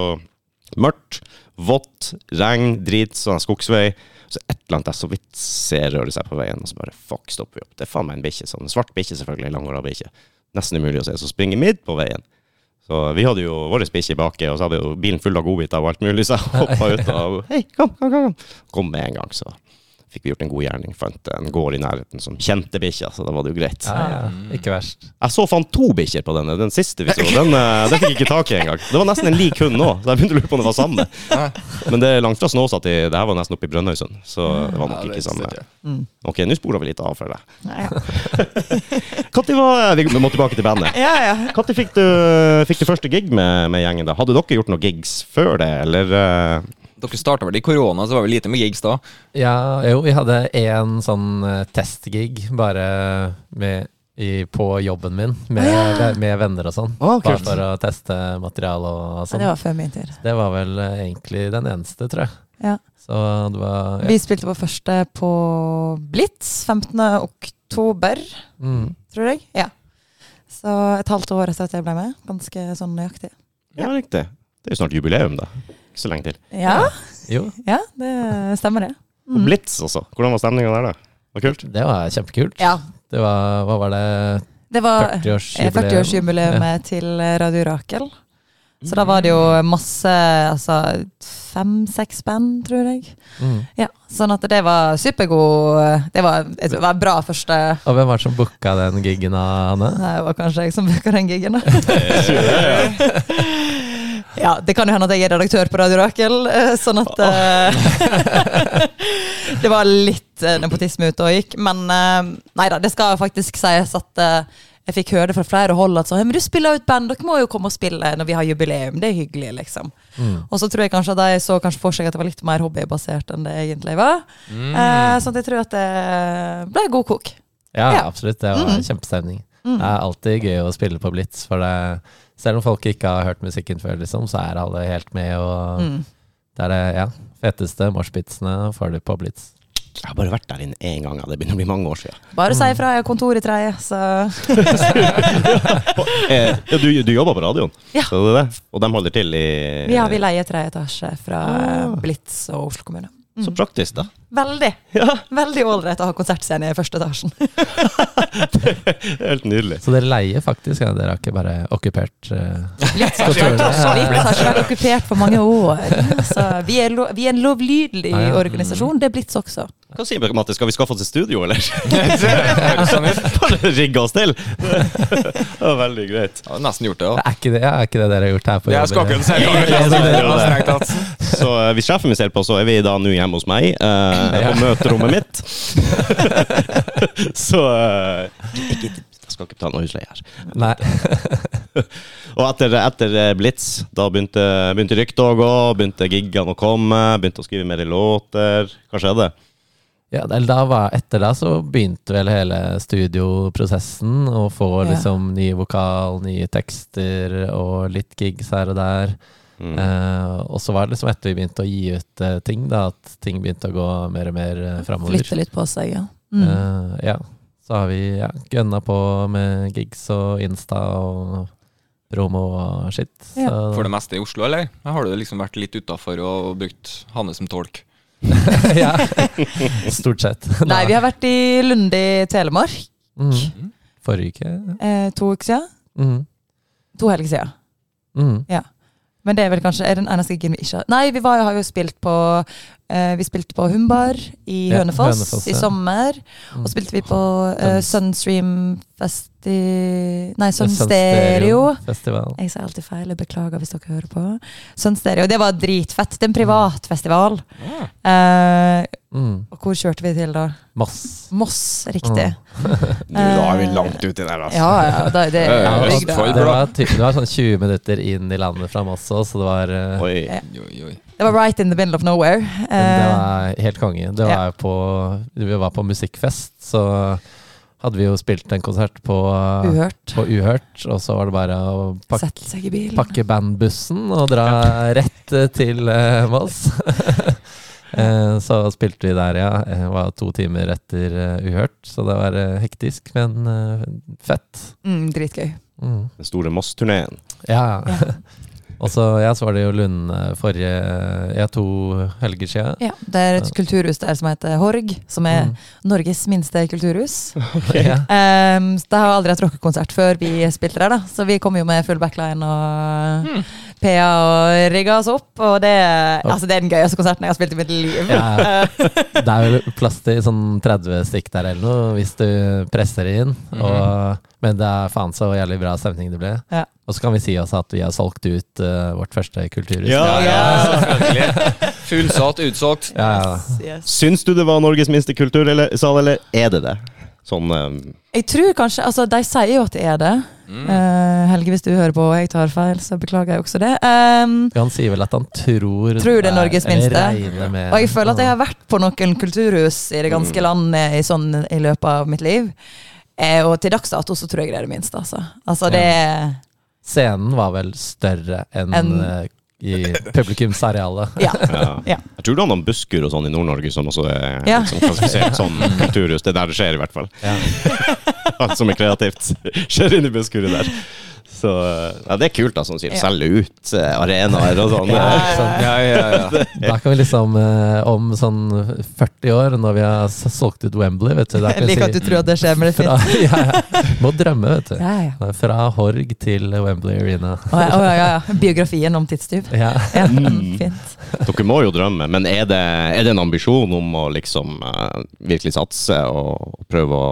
A: Mørkt, vått, regn, drit, sånn skogsvei. Så et eller annet jeg så vidt ser røre seg på veien, og så bare fuck, stopper vi opp. Det er faen meg en bikkje. Sånn en svart bikkje, selvfølgelig. Langhåra bikkje. Nesten umulig å se. Så springer midt på veien. Så vi hadde jo vår bikkje i baki, og så hadde jo bilen full av godbiter og alt mulig, så jeg hoppa ut og Hei, kom, kom, kom. kom. Kom med en gang, så fikk vi gjort en god gjerning. Fant en gård i nærheten som kjente bikkja, så da var det jo greit.
D: Ja, ja. Ikke verst.
A: Jeg så fant to bikkjer på denne. Den siste vi så, den, eh, den fikk jeg ikke tak i engang. Det var nesten en lik hund nå, så jeg begynte å lure på om det var samme. Men det er langt fra Snåsa til Det her var nesten oppe i Brønnøysund, så det var nok
B: Ja, det
A: ikke samme.
B: synes jeg.
A: Ok, nå sporer vi litt av for deg.
C: Nei, ja.
A: Når var Vi må tilbake til bandet.
C: Ja, ja.
A: Når fikk du, fikk du første gig med, med gjengen? da? Hadde dere gjort noen gigs før det, eller? eh?
B: Dere starta vel i korona, så var vi lite med gigs da.
D: Ja, jo, vi hadde en sånn eh, testgig bare med, i, på jobben min, med, med venner og sånn.
A: Å,
D: bare
A: kult.
D: for å teste materiale og
C: Ja,
D: sånn.
C: det var før min tid.
D: Det var vel eh, egentlig den eneste, tror jeg.
C: Ja.
D: Så det var
C: Vi spilte på første på Blitz 15. oktober,
D: mm.
C: tror jeg. Ja. Så et halvt år etter at jeg ble med. Ganske sånn nøyaktig.
A: Ja, riktig. Det er jo snart jubileum, da. Ikke så lenge til.
C: Ja,
D: Jo,
C: ja det stemmer det.
A: Og Blitz også. Hvordan var stemninga der, da? Det var kult.
D: det var kjempekult.
C: Ja.
D: Det var, hva var det,
C: Det var
D: 40-årsjubileum?
C: 40-årsjubileumet til Radio Rakel. Så da var det jo masse altså fem-seks band, tror jeg.
D: Mm.
C: Ja, sånn at det var supergod eh, Det var et det var bra første
D: Og hvem var det som booka den gigen av Hanne?
C: Det var kanskje jeg som booka den gigen, da. Ja, det kan jo hende at jeg er redaktør på Radio Rakel, eh, sånn at eh, Det var litt eh, nepotisme ute og gikk, men eh, nei da, det skal faktisk sies at eh, jeg fikk høre det fra flere hold at sånn, «Ja, men du spiller jo et band, dere må jo komme og spille når vi har jubileum, det er hyggelig, liksom. Og så tror jeg kanskje at de så kanskje for seg at det var litt mer hobbybasert enn det egentlig var. Eh, sånn at jeg tror at det ble god kok.
D: Ja,
C: Ja.
D: absolutt. Det var kjempestemning. Det er alltid gøy å spille på Blitz, for det, selv om folk ikke har hørt musikken før, liksom, så er alle helt med, og det er det ja, feteste moshpitsene får du på Blitz.
A: Jeg har bare vært der inne én gang, ja. det begynner å bli mange år siden.
C: Bare si ifra, jeg har kontor i treet, så
A: Eh, ja, du, du jobber på radioen,
C: Ja.
A: så det er det. og de holder til i
C: Ja,
D: Eh.
C: vi leier tre etasje fra
D: Ah.
C: Blitz og Oslo kommune.
A: eh, Så praktisk, da.
C: Veldig
A: Ja,
C: veldig ålreit å ha konsertscene i første etasjen.
A: Helt nydelig.
D: Så dere leier faktisk, ja. dere har ikke bare okkupert eh,
C: Blitz har ikke
D: kontorene?
C: vært okkupert for mange år. Så vi er, lo, vi er en lovlydig
D: Ah, ja.
C: organisasjon. Det er Blitz også.
A: Hva sier dere, Matte? Skal vi skaffe oss et studio, eller?
B: sånn ut.
A: Bare rigge oss til! det var veldig greit.
B: Jeg har nesten gjort det. da.
D: Er ikke det, er ikke det dere har gjort her på
B: Jeg skal ikke
D: eller?
B: si det.
A: Ja, det er jo det.
B: Strengt tatt.
A: Så eh, hvis sjefen min ser på, så er vi da nå hjemme hos meg eh, på møterommet mitt. så eh, ikke, jeg skal ikke betale noe husleie her.
D: Nei.
A: Og etter, etter eh, Blitz, da begynte, begynte ryktet å gå, begynte giggene å komme, begynte å skrive mer låter. Hva skjedde?
D: Ja, eller da var, etter da så begynte vel hele studioprosessen å få
C: Ja.
D: liksom ny vokal, nye tekster og litt gigs her og der. Eh, og så var det liksom etter vi begynte å gi ut eh, ting, da, at ting begynte å gå mer og mer uh, framover.
C: Flytte litt på seg, ja. Mm.
D: Eh, ja. Så har vi ja, gønna på med gigs og Insta og promo og shit.
C: Ja.
D: Så-
B: For det meste i Oslo, eller? Her har du liksom vært litt utafor og og brukt Hanne som tolk.
D: ja. Stort sett.
C: Nei, vi har vært i Lunde i Telemark
D: Mhm. Forrige uke.
C: eh, to uker siden.
D: Mhm.
C: To helger siden.
D: Mhm.
C: Men det er vel kanskje er den eneste giggen vi ikke har Nei, vi var, har jo spilt på eh, Vi spilte på Humbar i
D: Ja,
C: Hønefoss,
D: Hønefoss,
C: i
D: ja.
C: sommer.
D: Mm.
C: Og spilte vi på eh, Sunstream Festi... Nei, Sun
D: sånn
C: Stereo.
D: Festival.
C: Jeg sier alltid feil, jeg beklager hvis dere hører på. Sun Stereo, Det var dritfett. Det er en privat festival.
B: Mm.
C: Eh,
D: Mm.
C: og hvor kjørte vi til da?
D: Moss.
C: Moss,
D: Mm.
C: riktig.
A: Nå er vi langt uti der,
C: Eh, Ja, ja, da, det,
B: Ja, ja,
C: det-
B: Østfold,
D: Det
B: bra.
D: var, typ, det var sånn 20 minutter inn i landet fra Moss også, så det var, eh,
A: Oi.
C: Ja.
B: Oi, oi.
C: det var right in the middle of nowhere.
D: det
C: Eh,
D: var helt konge. Det var
C: ja.
D: jo på, vi var på musikkfest, så hadde vi jo spilt en konsert på
C: uhørt.
D: på Uhørt, og så var det bare å pakke,
C: Sette seg i bilen.
D: pakke bandbussen og dra rett eh, til eh, Moss. Eh, så spilte vi der, ja. Eh, var to timer etter eh, Uhørt, så det var eh, hektisk, men eh, fett.
C: Mm, dritgøy.
D: Mm.
A: Den store Moss-turneen.
D: Ja. Og så ja, så var det jo Lund eh, forrige Ja, to helger siden.
C: Ja, det er et kulturhus der som heter Horg, som er
D: Mm.
C: Norges minste kulturhus.
D: Ja.
C: Um, så det har aldri hatt rockekonsert før vi spilte der, da. Så vi kom jo med full backline og
D: Mm.
C: PA og rigga oss opp. Og det, altså, det er den gøyeste konserten jeg har spilt i mitt liv. Eh,
D: Ja. Det er vel plass til sånn 30 stykk der eller noe, hvis du presser inn.
C: Mhm.
D: Og, men det er faen så jævlig bra stemning det ble.
C: Ja.
D: Og så kan vi si også at vi har solgt ut eh, vårt første kulturhus.
A: Ja,
B: selvfølgelig. Fullsatt, utsolgt.
D: Ja, ja.
C: Yes.
A: Syns du det var Norges minste kultursal, eller er det det? Sånn eh,
C: Jeg tror kanskje Altså, de sier jo at det er det.
D: Mm.
C: Eh, Helge, hvis du hører på og jeg tar feil, så beklager jeg også det. Um,
D: Han sier vel at han tror,
C: Tror det er Norges
D: eller
C: minste.
D: regner med-
C: Og jeg føler at jeg har vært på noen kulturhus i det
D: Mm.
C: ganske land eh, i, sånn, i løpet av mitt liv. Eh, og til dags dato så tror jeg det er det minste, altså. Altså det
D: Scenen var vel større enn
C: Enn-
D: eh, i publikumsarealet.
C: Ja.
A: Ja.
C: Ja.
A: Jeg tror det er noen busskur og sånn i Nord-Norge som også er
C: Ja.
A: liksom, klassifisert som kulturhus. Det er der det skjer, i hvert fall.
D: Ja.
A: Alt som er kreativt, skjer inni busskuret der. Så eh, ja, det er kult, da, sånn som sier
C: Ja.
A: selge ut eh, arenaer og sånn.
D: Ja, ikke sant?
B: Ja, ja, ja.
D: Da kan vi liksom, eh, om sånn 40 år, når vi har s- solgt ut Wembley, vet du da
C: Jeg
D: kan vi
C: liker at du
D: si,
C: tror at det skjer, men det er
D: fra,
C: fint.
D: ja, ja. Må drømme, vet du.
C: Ja, ja.
D: Fra Horg til Wembley Arena.
C: Å, ja, å, ja, ja. Biografien om tidstyv.
D: Ja.
C: Ja, mm, fint.
A: Dere må jo drømme, men er det, er det en ambisjon om å liksom eh, virkelig satse og, og prøve å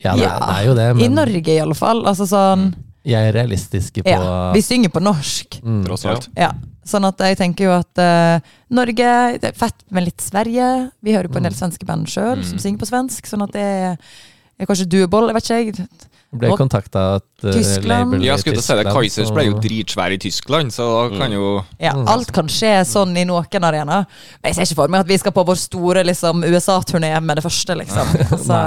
D: Ja, det,
C: Ja.
D: det er jo det,
C: I
D: men
C: Norge, i alle fall. Altså sånn
D: jeg er realistiske på
C: Ja. Vi synger på norsk.
D: Mm.
B: Tross alt.
C: Ja. Sånn at jeg tenker jo at eh, Norge Det er fett med litt Sverige. Vi hører på en del
D: Mm.
C: svenske band sjøl som synger på svensk. Sånn at det er, er kanskje duoboll, jeg vet ikke. jeg.
D: Ble
C: Og-
D: kontakta av et eh,
C: Tyskland.
D: label i
B: Ja, skulle til å si det.
D: Tyskland,
B: Kaizers ble jo
D: så-
B: dritsvær i Tyskland, så da kan jo
C: Ja,
D: Mm.
C: alt kan skje sånn i noen arenaer. Men jeg ser ikke for meg at vi skal på vår store liksom, USA-turné med det første, liksom. Altså,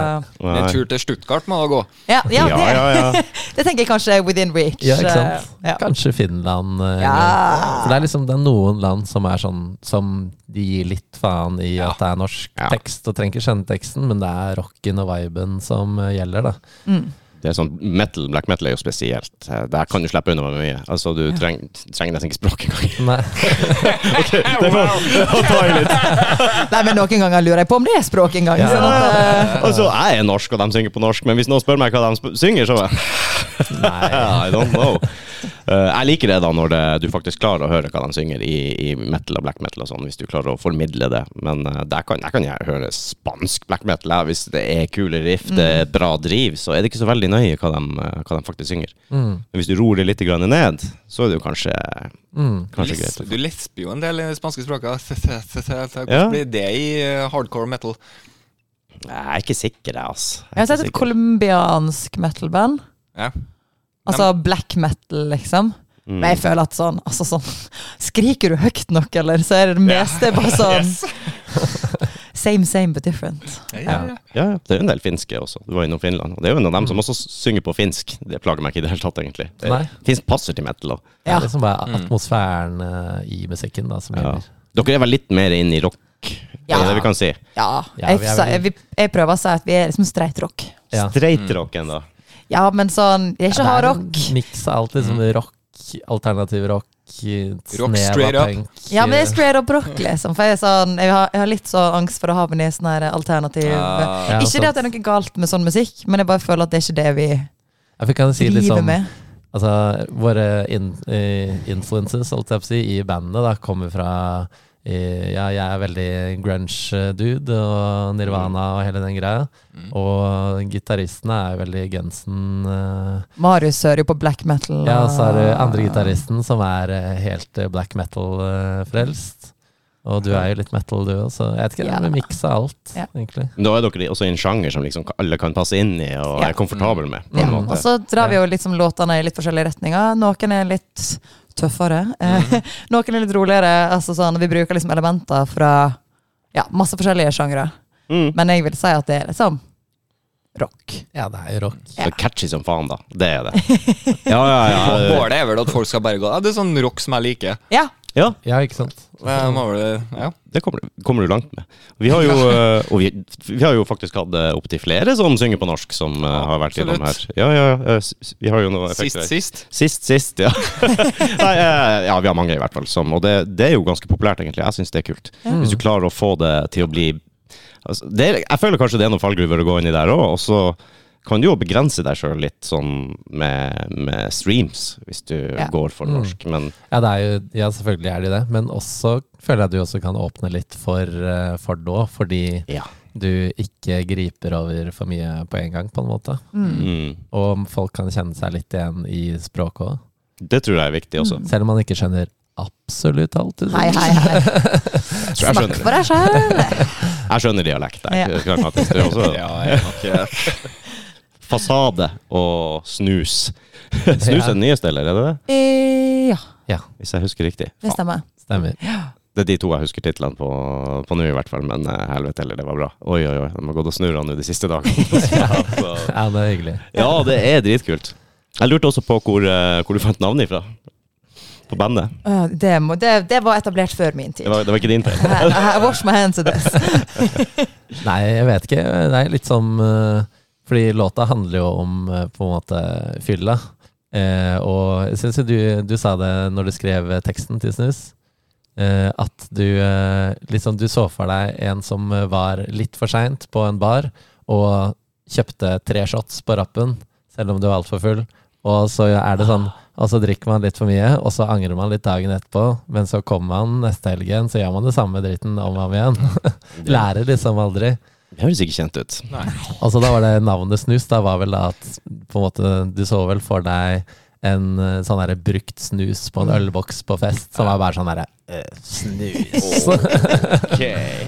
B: en tur til Stuttgart må da gå.
C: ja, ja,
A: Ja,
C: det,
A: ja, ja.
C: det tenker jeg kanskje er within reach.
D: Ja, ikke sant?
C: Eh, Ja.
D: Kanskje Finland. eh,
C: Ja.
D: For det er liksom det er noen land som er sånn Som de gir litt faen i at det er norsk
A: Ja.
D: tekst, og trenger ikke skjønne teksten, men det er rocken og viben som eh, gjelder, da.
A: Det er sånn metal, Black metal er jo spesielt. Eh, Der kan du slippe unna med mye. Altså, Du treng, trenger nesten ikke språk engang.
D: Nei.
A: Det var, det var deilig.
C: Nei, men noen ganger lurer jeg på om det er språk engang.
D: Ja.
C: Sånn at, eh,
A: Altså, jeg er norsk, og de synger på norsk, men hvis noen spør meg hva de sp synger, så bare
D: Nei.
A: I don't know. Eh, jeg liker det da når det, du faktisk klarer å høre hva de synger i, i metal og black metal og sånn, hvis du klarer å formidle det. Men eh, der kan, jeg kan jeg høre spansk black metal. jeg. Hvis det er kule riff, det er bra driv, så er det ikke så veldig nøye hva de, eh, hva de faktisk synger. Men hvis du ror det litt grann ned, så er det jo kanskje, kanskje
B: Lesb-
A: greit. altså.
B: Du lesper jo en del i det spanske språket.
A: Ja.
B: Hvordan blir det i eh, hardcore metal?
A: Jeg er ikke sikker, jeg, altså.
C: Jeg har sett et colombiansk metal-band.
B: Ja.
C: Altså black metal, liksom.
A: Mm.
C: Men jeg føler at sånn, altså sånn Skriker du høyt nok, eller? Så er det det meste bare sånn Same, same, but different.
B: Ja, ja.
A: Ja, ja, det er jo en del finske også. Du var innom Finland. Og det er jo en av
C: Mm.
A: dem som også synger på finsk. Det plager meg ikke i det hele tatt, egentlig. Det-
D: Nei.
A: Finsk passer til metal. også.
D: Det
C: Ja. Mm.
D: er liksom bare atmosfæren eh, i musikken da, som
A: Ja.
D: gjelder.
A: Dere er vel litt mer inn i rock, ja.
C: Ja.
A: er det vi kan si?
C: Ja.
D: Ja,
C: Jeg,
D: vi er
C: sa-
D: vel-
C: vi- jeg prøver å si at vi er liksom streit rock.
D: Ja. Mm.
A: Straight rock ennå.
C: Ja, men sånn Vi er ikke hard rock. Mm.
D: Miks av alt liksom rock, alternativ rock, snev
B: straight
D: av
B: up.
D: punk. eh,
C: Ja, men det er straight up rock, liksom. For jeg, er sånn, jeg, har, jeg har litt sånn angst for å havne i sånn her alternativ
B: Ah.
D: Ja,
C: Ikke det at det
D: sant.
C: er noe galt med sånn musikk, men jeg bare føler at det er ikke det vi
D: Ja, for Jeg kan si litt
C: driver
D: sånn
C: med.
D: Altså, våre in, eh, influences holdt jeg på å si, i bandet da, kommer fra eh, Ja, jeg er veldig grunge-dude, og Nirvana og hele den greia. Og gitaristene er jo veldig Gensen eh,
C: Marius hører jo på black metal.
D: Ja, så er det
C: og-
D: andre gitaristen som er eh, helt eh, black metal-frelst. Og du er jo litt metal, du òg, så jeg vet ikke,
C: Ja.
D: jeg vil mikse alt,
C: Ja.
D: egentlig.
A: Da er dere også i en sjanger som liksom alle kan passe inn i og
C: Ja.
A: er komfortable med. På
C: Ja,
A: en
C: og
D: Mm.
A: måte.
C: så drar vi jo liksom låtene i litt forskjellige retninger. Noen er litt tøffere, eh,
D: Mm.
C: noen er litt roligere. Altså sånn, vi bruker liksom elementer fra ja, masse forskjellige sjangre.
A: Mm.
C: Men jeg vil si at det er liksom rock.
D: Ja, det er jo rock.
A: Så catchy som faen, da. Det er det. Ja, ja, ja.
B: Målet er vel at folk skal bare gå Ja, Det er sånn rock som jeg liker.
C: Ja,
A: ja
D: Ja, ikke sant?
B: Det må vel, ja.
A: det kommer, kommer du langt med. Vi har jo, eh, og vi, vi har jo faktisk hatt eh, opptil flere som synger på norsk, som eh, har vært innom her.
B: Absolutt.
A: Ja, ja, ja, s- s- vi har jo noe effekter her.
B: Sist, sist.
A: Sist, sist, ja. Nei, eh, ja, vi har mange i hvert fall. Som, og det, det er jo ganske populært, egentlig. Jeg syns det er kult. Hvis du klarer å få det til å bli altså, det, er- Jeg føler kanskje det er noen fallgruver å gå inn i der òg, og så kan du jo begrense deg sjøl litt sånn med, med streams, hvis du
C: Ja.
A: går for
B: Mm.
A: norsk. Men
D: Ja, det er jo, ja, selvfølgelig er de det, men også føler jeg du også kan åpne litt for, eh, for nå, fordi
A: ja.
D: du ikke griper over for mye på en gang, på en måte.
A: Mm.
D: Og folk kan kjenne seg litt igjen i språket òg.
A: Det tror jeg er viktig også.
D: Selv om man ikke skjønner absolutt alt. du
C: hei,
D: sier.
C: hei,
A: Jeg,
C: hei.
A: tror jeg,
C: Snakk
A: skjønner,
C: for deg sjøl!
A: jeg skjønner dialekt. Jeg,
C: Ja.
A: klart at det er også
B: Ja, jeg har ikke
A: fasade og snus. snus er den nyeste, eller er det det?
C: Ja,
D: Ja,
A: Hvis jeg husker riktig.
C: det stemmer.
D: stemmer.
A: Det er de to jeg husker titlene på, på nå, i hvert fall. Men eh, helvete heller, det var bra. Oi, oi, oi. De har gått og snurra nå de siste dagene.
D: Ja, det er hyggelig.
A: ja, det er dritkult. Jeg lurte også på hvor, eh, hvor du fant navnet ifra. På bandet.
C: Ja, Eh, Det, må, det, det var etablert før min tid.
A: Det var, det var ikke din feil.
C: I, I wash my hands of this.
D: Nei, jeg vet ikke. Det er litt som eh, Fordi låta handler jo om eh, på en måte fylla. Eh, og jeg syns jo du, du sa det når du skrev eh, teksten til Snus. eh, at du eh, liksom Du så for deg en som eh, var litt for seint på en bar, og kjøpte tre shots på rappen, selv om du var altfor full. Og så er det sånn Og så drikker man litt for mye, og så angrer man litt dagen etterpå. Men så kommer man neste helg igjen, så gjør man det samme dritten om og om igjen. Lærer liksom aldri.
A: Det høres ikke kjent ut.
D: Altså da var det navnet snus, da var vel da at på en måte, du så vel for deg en eh, sånn der brukt snus på en ølboks på fest, som var bare sånn derre eh, Snus.
A: Ok,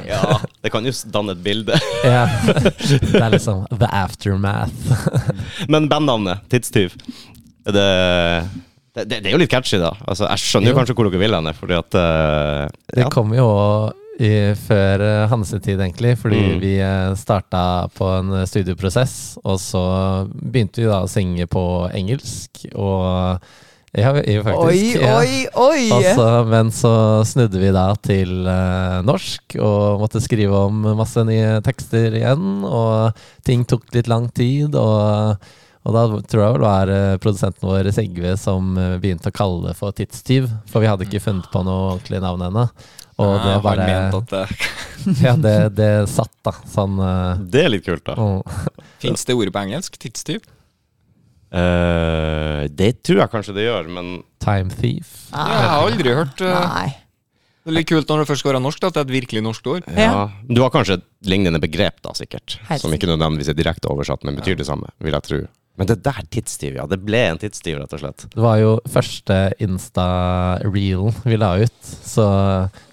A: ja. Det kan jo s- danne et bilde.
D: ja. Det er liksom the aftermath.
A: Men bandnavnet, Tidstyv, er det det, det, det er jo litt catchy, da. Altså, jeg skjønner jo
D: Jo.
A: kanskje hvor dere vil hen, fordi at eh,
D: Det
A: ja.
D: kom jo i, før eh, hansetid, egentlig, fordi
A: Mm.
D: vi eh, starta på en eh, studieprosess, og så begynte vi da å synge på engelsk, og ja, vi-
C: Oi,
D: faktisk ja.
C: oi, oi!
D: Og
A: Altså.
D: så- men så snudde vi da til eh, norsk og måtte skrive om masse nye tekster igjen. Og ting tok litt lang tid. Og, og da tror jeg vel det var eh, produsenten vår Sigve som eh, begynte å kalle det for tidstyv. For vi hadde ikke funnet på noe ordentlig navn ennå. Og det
B: Jeg har
D: bare
B: ment at Ah, eh, det
D: Ja, det, det satt, da. Sånn eh,
A: Det er litt kult, da.
D: mm.
B: Fins det ordet på engelsk? Tidstyv?
A: Eh, det tror jeg kanskje det gjør, men
D: Time Thief.
B: Ja, jeg har aldri hørt eh,
C: Ah, Nei.
B: Det er litt kult når det først går av norsk, da, at det er et virkelig norsk ord.
A: ja. Du har kanskje et lignende begrep, da, sikkert.
C: Helt
A: som ikke nødvendigvis er direkte oversatt, men betyr det samme, vil jeg tro. Men det der tidstyv, ja. Det ble en tidstyv, rett og slett.
D: Det var jo første Insta-reelen vi la ut. Så,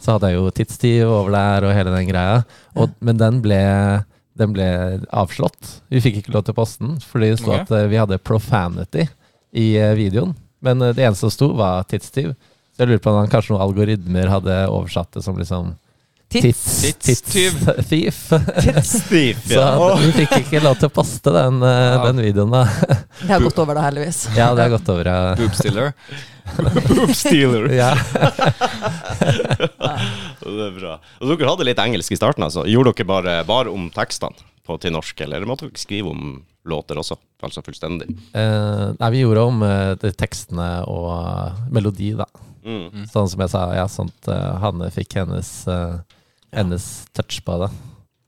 D: så hadde jeg jo tidstyv over der og hele den greia. Og, Men den ble, den ble avslått. Vi fikk ikke lov til å poste den, fordi det sto
B: Ok.
D: at eh, vi hadde profanity i eh, videoen. Men eh, det eneste som sto, var tidstyv. Så jeg lurer på om han kanskje noen algoritmer hadde oversatt det som liksom
C: Tids.
D: tids-
B: Tidstyv.
D: thief.
A: Tidstyv,
D: Så vi fikk ikke lov til å poste den, eh,
B: Ja.
D: den videoen, da.
C: Det har gått over, da, heldigvis.
D: Ja, det har gått over. ja.
B: Boobstiller.
A: Stealer.
D: Ja.
A: Det er bra. Og dere hadde litt engelsk i starten, altså. Gjorde dere bare, bare om tekstene på, til norsk, eller måtte dere skrive om låter også? Altså fullstendig.
D: Eh, nei, vi gjorde om eh, de tekstene og eh, melodi, da.
A: Mm.
D: Sånn som jeg sa, ja, sånt eh, Hanne fikk hennes, eh, hennes touch på det.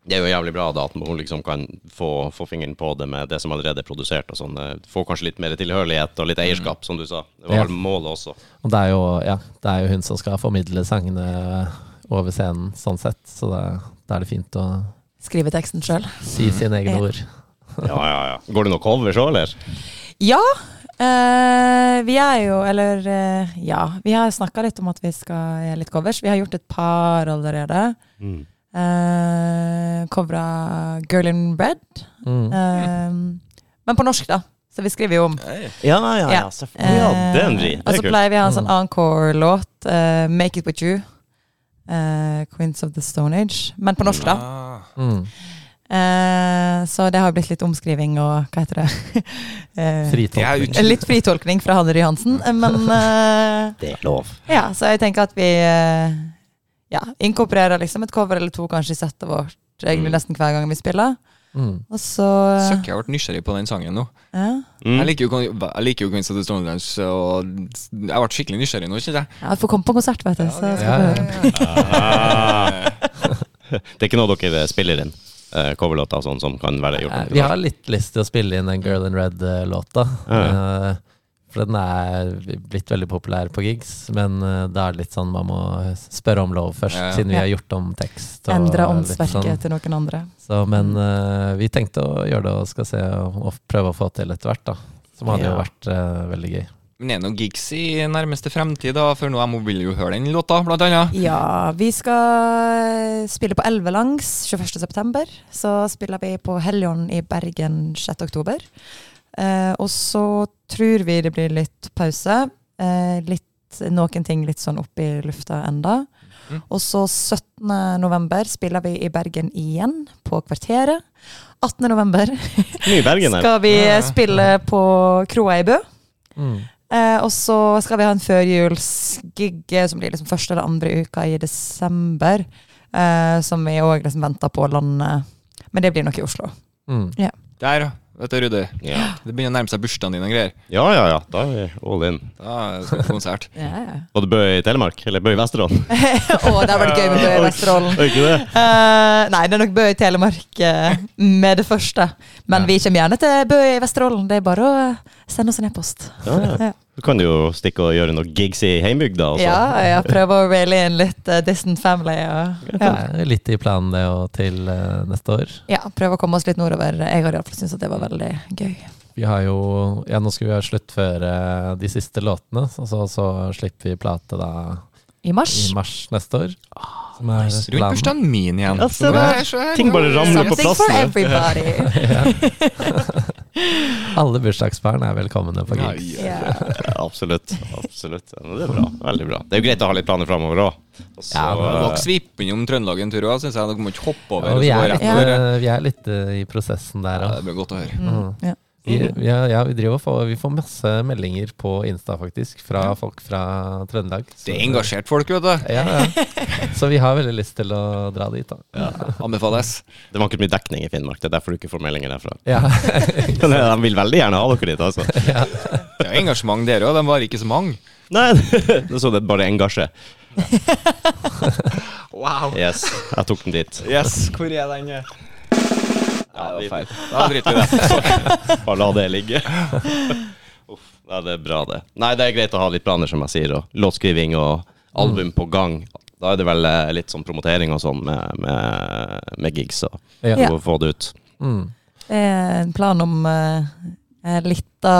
A: Det er jo jævlig bra da at hun liksom kan få, få fingeren på det med det som allerede er produsert, og sånn. eh, Få kanskje litt mer tilhørighet og litt eierskap, som du sa. Det var
D: Ja.
A: vel målet også.
D: Og det er, jo, ja, det er jo hun som skal formidle sangene eh, over scenen, sånn sett. Så det, da er det fint å
C: Skrive teksten sjøl.
D: si sine
C: Ja.
D: egne ord.
A: Ja, ja, ja. Går det noe cover så, eller?
C: Ja. eh, vi er jo, eller eh, ja. Vi har snakka litt om at vi skal gjøre litt covers. Vi har gjort et par allerede.
A: Mm.
C: Uh, Covra Girl in Bread.
D: Mm.
C: Eh, men på norsk, da. Så vi skriver jo om.
A: Ja, ja,
C: Ja. Ehm,
A: selvfølgelig. Mm. Ja, det er en drit.
C: Og
A: Det
C: så
A: er kult.
C: pleier vi å ha en sånn encore-låt. eh, Make It With You. eh, Queens of the Stone Age. Men på norsk, da.
B: Ah.
D: Mm.
C: Eh, så det har blitt litt omskriving og hva heter det? Eh,
D: Fritolkning.
B: Det er ut-
C: litt fritolkning fra Hanne Ry Hansen. eh, Men eh,
A: Det er lov.
C: ja, så jeg tenker at vi eh, ja, inkorporerer liksom et cover eller to kanskje i settet vårt.
A: Mm.
C: Egentlig nesten hver gang vi spiller.
D: Mm.
C: Og så
B: Søkker, jeg har vært nysgjerrig på den sangen nå.
C: ja.
B: Jeg liker jo, Queen- jeg liker jo Queens of the Stone Lands, og jeg ble skikkelig nysgjerrig nå, kjenner jeg.
C: ja, jeg får komme på konsert, vet du. Så skal
D: Ja,
C: vi
D: ja,
C: høre.
D: ja. Ah.
A: Det er ikke noe dere spiller inn? eh, Coverlåter og sånn som kan være gjort
D: Eh,
A: om til
D: Vi har litt lyst til å spille inn den Girl in Red-låta. Eh, For den er blitt veldig populær på gigs, men eh, det er litt sånn man må spørre om lov først,
B: Ja.
D: siden vi
C: Ja.
D: har gjort om tekst. og
C: Endre
D: litt
C: åndsverket
D: sånn.
C: til noen andre.
D: Så, men eh, vi tenkte å gjøre det og skal se og, og prøve å få til etter hvert, da. Som hadde jo
A: Ja.
D: vært eh, veldig gøy.
B: Men er det noen gigs i nærmeste fremtid, da? For nå jeg må vil jo høre den låta, blant annet.
C: Ja, vi skal eh, spille på Elvelangs 21.9. Så spiller vi på Helligånd i Bergen 6.10. Eh, og så tror vi det blir litt pause. Eh, litt, noen ting litt sånn opp i lufta enda.
B: Mm.
C: Og så 17.11. spiller vi i Bergen igjen, på Kvarteret. 18.11.
A: Ny Bergen her.
C: skal vi
B: Ja, ja.
C: spille på Kroa i Bø.
D: Mm.
C: Eh, og så skal vi ha en førjulsgigge som blir liksom første eller andre uka i desember. Eh, som vi òg liksom venter på å lande. Men det blir nok i Oslo.
D: Mm.
B: Der, vet du, Rudi.
A: Ja.
B: Det begynner å nærme seg bursdagen din og greier.
A: ja, ja, ja. Da er vi all in.
B: Da skal vi på konsert.
A: Var det Bø i Telemark? Eller Bø i Vesterålen?
C: og det har vært gøy med Bø i Vesterålen.
A: Er ikke det?
C: Eh, nei, det er nok Bø i Telemark eh, med det første. Men vi kommer gjerne til Bø i Vesterålen. Det er bare å eh, sende oss en e-post.
A: Ja, ja. Så kan du jo stikke og gjøre noen gigs i heimbygda. Altså.
C: Ja, jeg prøver å raile inn litt eh, distant family. Og,
D: Det
C: ja.
D: er litt i planen det og til eh, neste år.
C: ja, prøver å komme oss litt nordover. Jeg har iallfall syntes at det var veldig gøy.
D: Vi har jo Ja, nå skal vi jo sluttføre eh, de siste låtene, og så, så slipper vi plate da
C: I mars.
D: i mars neste år. Som er
B: Rundt
D: planen.
B: bursdagen min igjen.
A: Ja, se der.
B: Nei, se her.
A: Ting bare ramler på
C: Something for
A: plassen.
C: everybody.
D: Alle bursdagsbarn er velkomne på
B: Nei,
D: gigs.
C: Ja.
A: Absolutt. absolutt. Ja, men det er bra. Veldig bra. Det er jo greit å ha litt planer framover òg.
D: Ja, men
B: Dere sviper innom Trøndelag en tur òg, syns jeg. Dere må ikke hoppe over.
D: Og
B: og
D: vi
B: så gå
D: er
B: rett
D: litt,
B: over.
D: eh, vi er litt eh, i prosessen der
B: Ja,
D: òg.
B: det blir godt å høre.
C: Mm. Ja.
D: Vi, vi er- ja, vi, driver og får, vi får masse meldinger på Insta, faktisk, fra folk fra Trøndelag. Så-
B: Det er engasjert folk, vet du.
D: Ja, ja. Så vi har veldig lyst til å dra dit, da.
B: Anbefales.
A: Det var ikke mye dekning i Finnmark, det er derfor du ikke får meldinger derfra.
D: Ja.
A: Men eh, de vil veldig gjerne ha dere dit, altså.
B: Det er engasjement der òg, de var ikke så mange.
A: Nei, så det er bare engasje.
B: Wow.
A: Yes, jeg tok den dit.
B: Yes, hvor er den? Ja, det
A: vi-
B: var feil. Da driter vi i det.
A: Bare la det ligge. Uff, nei, det er bra, det. Nei, det er greit å ha litt planer, som jeg sier, og låtskriving og album
D: Mm.
A: på gang. Da er det vel eh, litt sånn promotering og sånn med, med, med gigs og
D: Ja.
A: og få det ut.
D: Mm.
C: Det er en plan om eh, en lita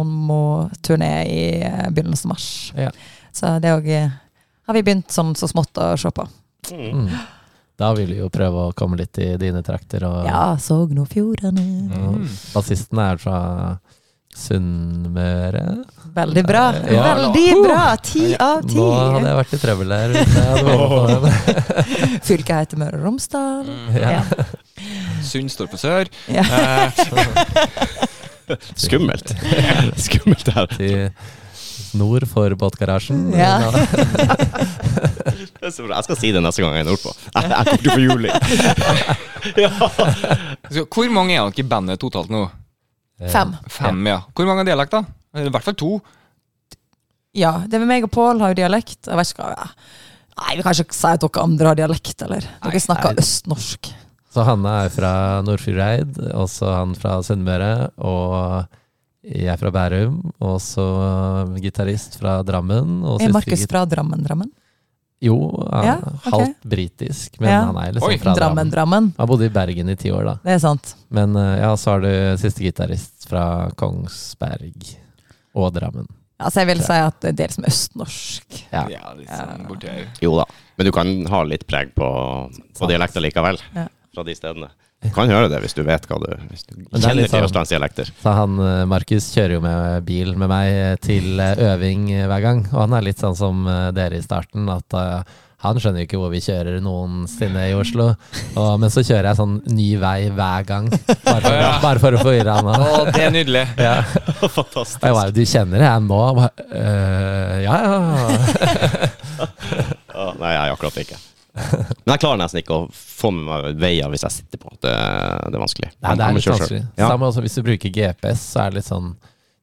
C: albumpromoturné i eh, begynnelsen av mars.
D: Ja.
C: Så det òg har vi begynt sånn så smått å se på.
D: Mm. Da vil vi jo prøve å komme litt i dine trakter. Og
C: Ja, Sogn og Fjordane.
B: Mm.
D: og bassisten er fra Sunnmøre.
C: Veldig bra. Uh!
D: Ja.
C: Veldig bra! Ti av ti.
D: Nå hadde jeg vært i trøbbel der. hvis jeg hadde vært på den.
C: Fylket heter Møre og Romsdal.
D: Ja.
C: Ja.
B: Sund står på sør.
C: Ja.
A: Skummelt! Skummelt det her.
D: Til nord for båtgarasjen.
C: Ja.
A: Det er så bra. Jeg skal si det neste gang jeg er nordpå. Jeg jeg kommer til å få juling. Ja.
B: Så Hvor mange er dere i bandet totalt nå?
C: Fem.
B: Fem, ja. Hvor mange har dialekter? Eller I hvert fall to.
C: Ja, det er meg og Pål har jo dialekt. Jeg vet ikke hva ja. Nei, vi kan ikke si at dere andre har dialekt, eller? Dere
B: Nei,
C: snakker
D: nei.
C: østnorsk.
D: Så Hanne er fra Nordfjordeid, og så han fra Sunnmøre. Og jeg er fra Bærum, og så gitarist fra Drammen. Og
C: Er
D: siste
C: Eh, Markus
D: git-
C: fra Drammen, Drammen?
D: Jo, han,
C: Ja, ok.
D: halvt britisk, men
C: Ja.
D: han er liksom
B: Oi,
D: fra
C: Drammen,
D: Drammen.
C: Drammen.
D: Han bodde i Bergen i ti år, da.
C: Det er sant.
D: Men eh, ja, så har du siste gitarist fra Kongsberg og Drammen.
C: Altså, jeg vil si at det er liksom østnorsk.
D: Ja.
B: Ja, litt sånn borti her.
A: Jo da, men du kan ha litt preg på, på dialekter likevel.
C: Ja.
A: Fra de stedene. Du kan høre det hvis du vet hva du Hvis du
D: det er
A: kjenner
D: litt
A: til
D: sånn-
A: østlandsdialekter.
D: Så han eh, Markus kjører jo med bil med meg eh, til eh, øving eh, hver gang, og han er litt sånn som eh, dere i starten, at eh, han skjønner jo ikke hvor vi kjører noensinne i Oslo. Og, men så kjører jeg sånn ny vei hver gang, bare for,
B: Ja.
D: bare for å forvirre han.
B: Å,
D: da.
B: det er nydelig.
D: Ja.
A: Fantastisk.
D: Og jeg bare, du kjenner det her nå? Han bare, «Eh, ja, ja.
A: Ja, nei, jeg akkurat ikke. Men jeg klarer nesten ikke å få med meg veier hvis jeg sitter på. Det, det er vanskelig.
D: Nei, det
A: Jeg
D: er
A: må
D: litt
A: kjøre selv.
D: vanskelig.
A: Ja.
D: Samme også hvis du bruker GPS, så er det litt sånn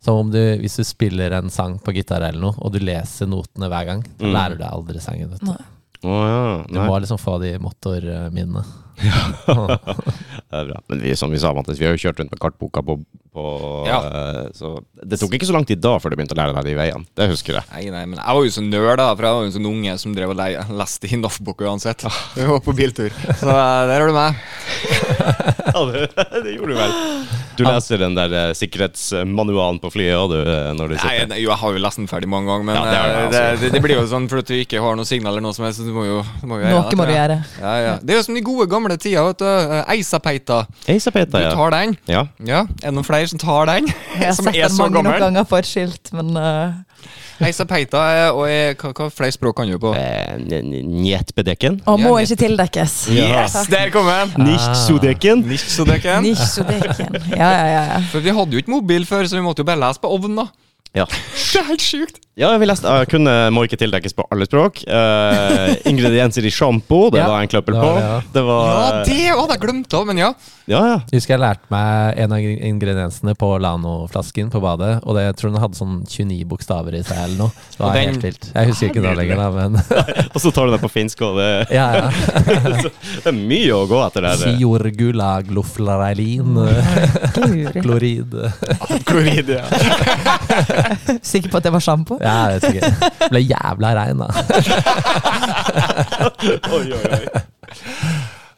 D: som om du, hvis du spiller en sang på gitar eller noe, og du leser notene hver gang, da
A: Mm.
D: lærer du deg aldri sangen. Vet du.
C: Nei.
A: Å ja.
D: du
A: Nei,
D: må liksom få de motorminnene.
A: det er bra. Men vi, som vi sa, Mattis, vi har jo kjørt rundt med kartboka på, på
B: Ja.
A: eh, Så det tok ikke så lang tid da før du begynte å lære deg de veiene. Det husker jeg.
B: Nei, nei, men jeg var jo så nerd, da, for jeg var jo en sånn unge som drev og le- leste i NAF-boka uansett. Vi var på biltur. Så eh, der har du meg.
A: Ja, det, gjorde du vel. Du leser den der eh, sikkerhetsmanualen på flyet òg, du, eh, når du
B: Nei,
A: sitter
B: nei, jo, jeg har jo lest den ferdig mange ganger, men
A: Ja, det har du,
B: eh, det,
A: altså.
B: det, det blir jo sånn fordi du ikke har noe signal eller noe som helst, så du må jo, du må jo
C: Noe må du
B: tror jeg.
C: gjøre.
B: Ja, ja. Det er jo som de gode gamle tider, vet du. Eh, Eisapeita. Du
A: Eisapeta, ja.
B: tar den.
A: ja.
B: Ja, er det noen flere som tar den?
C: Jeg har
B: som
C: sett
B: er
C: den
B: så
C: mange nok
B: gammel?
C: ganger på et skilt, men eh,
B: Eisapeita er, og er, hva, hva flere språk kan du på?
A: Eh, n- n- Njetbedekken.
C: Og må
B: Ja,
C: ikke tildekkes.
B: Yes, der kom
A: Ah.
B: den!
A: Nisjsudeken.
B: Nisjsodeken.
C: Nisjodekken. Ja, ja, ja. ja.
B: For vi hadde jo ikke mobil før, så vi måtte jo bare lese på ovnen, da.
A: Ja.
B: Det er helt sjukt.
A: Ja, vi leste uh, kunne må ikke tildekkes på alle språk. Eh, ingredienser i sjampo, det
D: Ja,
A: var en kløppel
D: det
A: på.
D: var det, ja.
A: Det
B: Ja,
A: var
B: det hadde jeg glemt av, men ja.
A: Ja, ja.
D: Jeg husker jeg lærte meg en av ingrediensene på Lano-flasken på badet, og det, jeg tror den hadde sånn 29 bokstaver i seg eller noe. Det
B: Og
D: var
B: den-
D: helt vilt. Jeg husker ikke nå lenger, da, men
A: Og så tar du det på finsk, og det,
D: ja, ja.
A: det er mye å gå etter der.
D: Siorgulagloflarelin,
C: Guri.
D: eh, klorid
B: Klorid, ja.
C: Sikker på at det var sjampo?
D: Ja, jeg vet ikke. Ble jævla rein, da.
A: oi, oi, oi.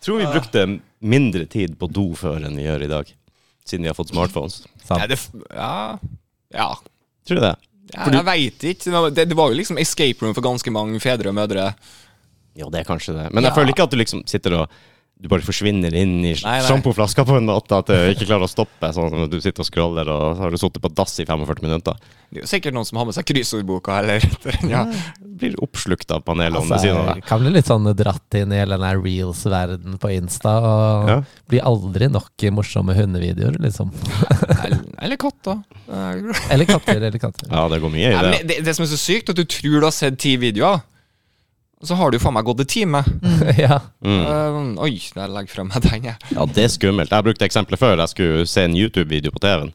A: Tror vi brukte mindre tid på do før enn vi gjør i dag. Siden vi har fått smartphones.
D: Sant.
B: Ja, det, f- ja. ja.
A: Tror du det?
B: Ja, jeg veit ikke. Det var- Det, det var jo liksom escape room for ganske mange fedre og mødre.
A: Jo, det er kanskje det. Men jeg
C: Ja.
A: føler ikke at du liksom sitter og du bare forsvinner inn i
B: Nei, nei.
A: sjampoflaska på en måte. At du ikke klarer å stoppe, sånn som at du sitter og scroller, og så har du sittet på dass i 45 minutter.
B: Det er jo sikkert noen som har med seg kryssordboka, eller ja.
A: blir oppslukt av panelet om det
D: Altså,
A: sier noe.
D: jeg kan bli litt sånn dratt inn i hele den her reels-verden på Insta. Og
A: Ja.
D: Blir aldri nok morsomme hundevideoer, liksom.
B: Eller, eller katter.
D: Eller katter. eller katter
A: Ja, det går mye i
B: Ja,
A: det.
B: men det, det som er så sykt, er at du tror du har sett ti videoer, og så har du jo faen meg gått en time.
D: Ja,
A: Mm.
B: Eh, oi, der legger fra meg den, jeg.
A: Ja, det er skummelt. Jeg brukte eksempelet før. Jeg skulle se en YouTube-video på TV-en,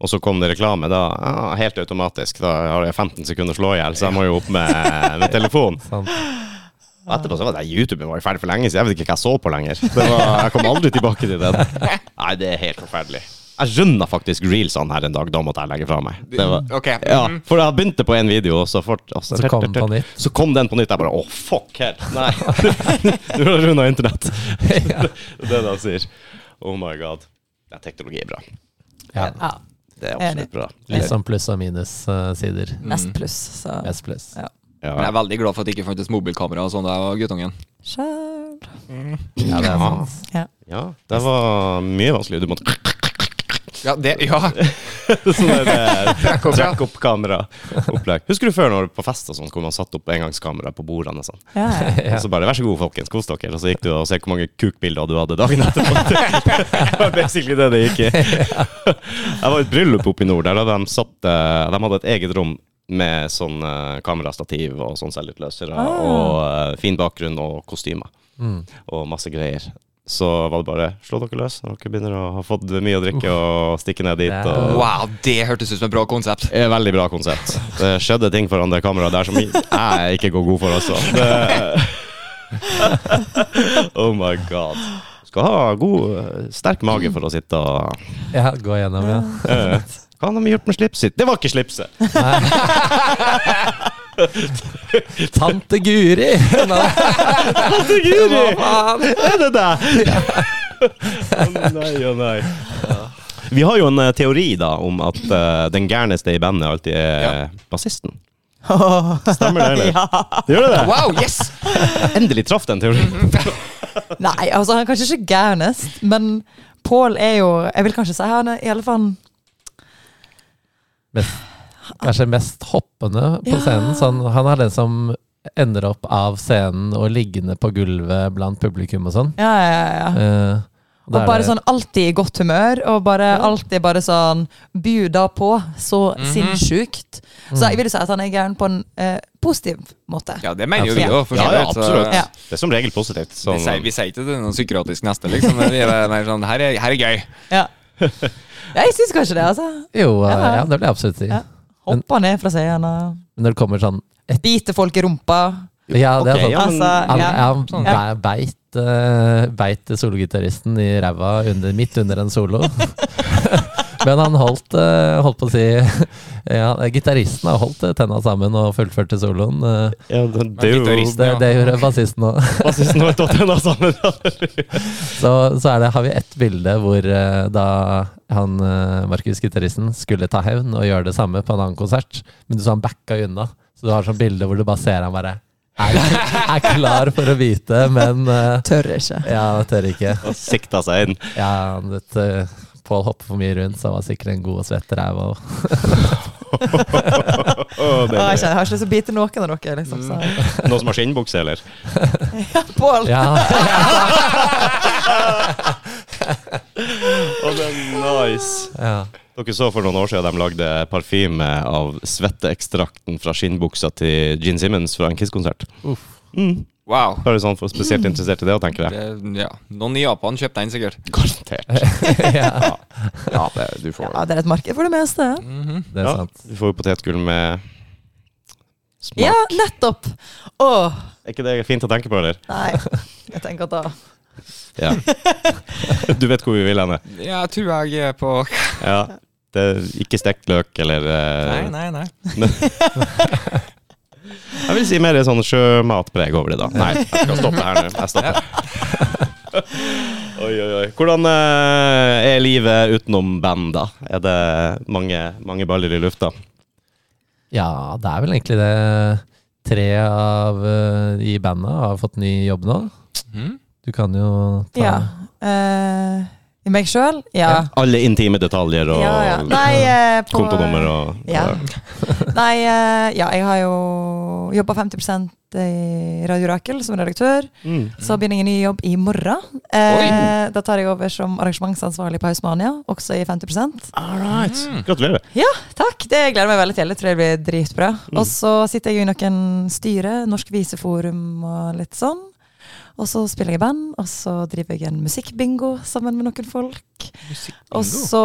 A: og så kom det reklame. Da ah, helt automatisk. Da har jeg 15 sekunder å slå i hjel, så jeg må jo opp med, med telefon.
D: sant.
A: Og etterpå så var det YouTube var jo ferdig for lenge siden. Jeg vet ikke hva jeg så på lenger. Det var, jeg kom aldri tilbake til den. Nei, det er helt forferdelig. Jeg runda faktisk reelsene her en dag. Da måtte jeg legge fra meg. Det var,
B: Ok.
A: ja,
B: mhm.
A: for jeg begynte på én video, og så, fort, og så,
D: Så kom den på nytt.
A: Så kom den på nytt. Jeg bare Å, fuck her. Nei. Nå har jeg runda internett. Det
D: Ja.
A: er det han sier. Oh my god. Ja, teknologi er bra.
D: Ja.
C: Ja,
A: Det er absolutt bra.
D: Litt sånn pluss og minus eh, sider.
C: Mest
B: Mm.
C: pluss, så
D: Mest pluss.
B: Men jeg
A: Ja.
B: er veldig glad for at det ikke fantes mobilkamera og sånn da jeg var guttungen.
C: Sjøl.
D: Ja, det er
B: Ah.
D: sant.
C: Ja.
A: ja, det var mye vanskelig. Du måtte
B: Ja, det, ja.
A: Sånn er det. Trekk opp kamera. Opplegg. Husker du før når du på fest og sånn, hvor man satte opp engangskamera på bordene og sånn?
C: Ja, ja.
A: Og så bare 'vær så god, folkens, kos dere', og så gikk du og så hvor mange kukbilder du hadde dagen etterpå. Det var basically det det gikk i. Jeg var i et bryllup oppe i nord, der hadde de satt eh, De hadde et eget rom med sånn eh, kamerastativ og sånn selvutløsere
C: Ah.
A: og eh, fin bakgrunn og kostymer
D: Mm.
A: og masse greier. Så var det bare 'slå dere løs' når dere begynner å ha fått mye å drikke og stikke ned dit.
D: Ja.
A: Og
B: Wow, det hørtes ut som et bra konsept.
A: er et veldig bra konsept. Det skjedde ting foran det kameraet der som jeg ikke går god for også. Det... Oh my god. Skal ha god, sterk mage for å sitte og
D: Ja, gå gjennom, ja.
A: Eh, Hva har de gjort med slipset sitt? Det var ikke slipset!
D: Tante Guri! Nei,
A: Guri!
D: faen?
A: Er det deg? Å nei, å nei. Vi har jo en eh, teori da om at eh, den gærneste i bandet alltid er bassisten. Stemmer det, eller? Gjør det det?
B: Wow, yes!
A: Endelig traff den teorien.
C: Nei, altså han er kanskje ikke gærnest, men Pål er jo Jeg vil kanskje si han er i alle fall
D: Kanskje mest hoppende på
C: Ja.
D: scenen. Sånn, han er den som ender opp av scenen og liggende på gulvet blant publikum og sånn.
C: Ja, ja, ja. ja.
D: Eh,
C: Og
D: da er
C: bare
D: det-
C: sånn alltid i godt humør, og bare alltid bare sånn Bjuda på så sinnssykt. Så jeg vil si at han er gæren på en eh, positiv måte.
B: Ja, det mener jo vi
C: Ja.
B: òg, for så
A: Ja, ja,
B: vidt, så-
A: absolutt.
C: Ja.
A: Det er som regel positivt.
B: Vi
A: Sånn,
B: sier, vi sier ikke det er noen psykiatrisk neste, liksom. Men vi er mer sånn, her er, her er gøy.
C: Ja. Ja, jeg syns kanskje det, altså.
D: Jo, eh,
C: Ja.
D: ja, det vil jeg absolutt si.
C: Ja. Hopper ned fra scenen og
D: Men når det kommer sånn
C: biter folk i rumpa.
D: Ja, det
A: Ok,
D: er sånn.
A: ja. men-
C: Altså,
D: Han,
C: ja.
D: ja, be- beit, eh, beit sologitaristen i ræva under, midt under en solo. Men han holdt, eh, holdt på å si ja, Gitaristen har holdt eh, tenna sammen og fullførte soloen. eh.
A: ja, det, det er jo
B: Gitarist.
D: Det,
B: Ja.
D: det gjorde bassisten òg.
A: bassisten har tatt henne sammen.
D: Så, så er det, har vi ett bilde hvor eh, da han eh, Markus, gitaristen, skulle ta hevn og gjøre det samme på en annen konsert, men du så han backa unna. Så du har sånn bilde hvor du bare ser han bare er, er klar for å bite, men eh,
C: Tør ikke.
D: ja, jeg tør ikke.
A: Og sikta seg inn.
D: Ja, vet du, Pål hopper for mye rundt, så han var sikkert en god og svett ræv òg.
A: Å,
C: Og jeg,
A: deilig.
C: kjenner, jeg har ikke lyst til å bite noen av dere, liksom. Så.
A: Noen som har skinnbukse, eller?
C: Pål!
D: Ja,
A: Å, det er nice.
D: ja.
A: Dere så for noen år siden de lagde parfyme av svetteekstrakten fra skinnbuksa til Gene Simmons fra en Kiss-konsert. Mm.
B: Wow.
A: Bare sånn for spesielt interessert i det, tenker jeg.
B: Det, ja. Noen i Japan kjøpte den sikkert.
A: Garantert.
D: ja.
A: Ja, det, du får
C: Ja, det er et marked for det meste.
D: Det er
A: Ja,
D: sant.
A: Du får jo potetgull med smak.
C: Ja, nettopp! Åh,
A: Er ikke det fint å tenke på, eller?
C: nei. Jeg tenker at da
A: Ja. Du vet hvor vi vil henne.
B: Ja, jeg tror jeg er på
A: Ja. Det er ikke stekt løk eller eh,
B: Nei, nei, nei.
A: Jeg vil si mer sånn sjømatpreg over det, da. Nei, jeg skal stoppe her nå. Jeg stopper. Oi, oi, oi. Hvordan eh, er livet utenom band, da? Er det mange, mange baller i lufta?
D: Ja, det er vel egentlig det. Tre av eh, i bandet har fått ny jobb nå.
B: Mhm.
D: Du kan jo ta
C: Ja. eh, I meg sjøl? Ja.
A: Alle intime detaljer og
C: ja, ja. Nei, eh, på
A: kontonummer og
C: ja. Nei, eh, ja, jeg har jo jobba 50 i Radio Rakel som redaktør.
A: Mm.
C: Så begynner jeg en ny jobb i morgen. Eh, da tar jeg over som arrangementsansvarlig på Hausmania, også i 50
A: Gratulerer.
C: Ja, takk. Det gleder jeg meg veldig til. Det tror jeg blir dritbra.
D: Mm.
C: Og så sitter jeg jo i noen styre, Norsk Viseforum og litt sånn. Og så spiller jeg i band, og så driver jeg en musikkbingo sammen med noen folk. Og så,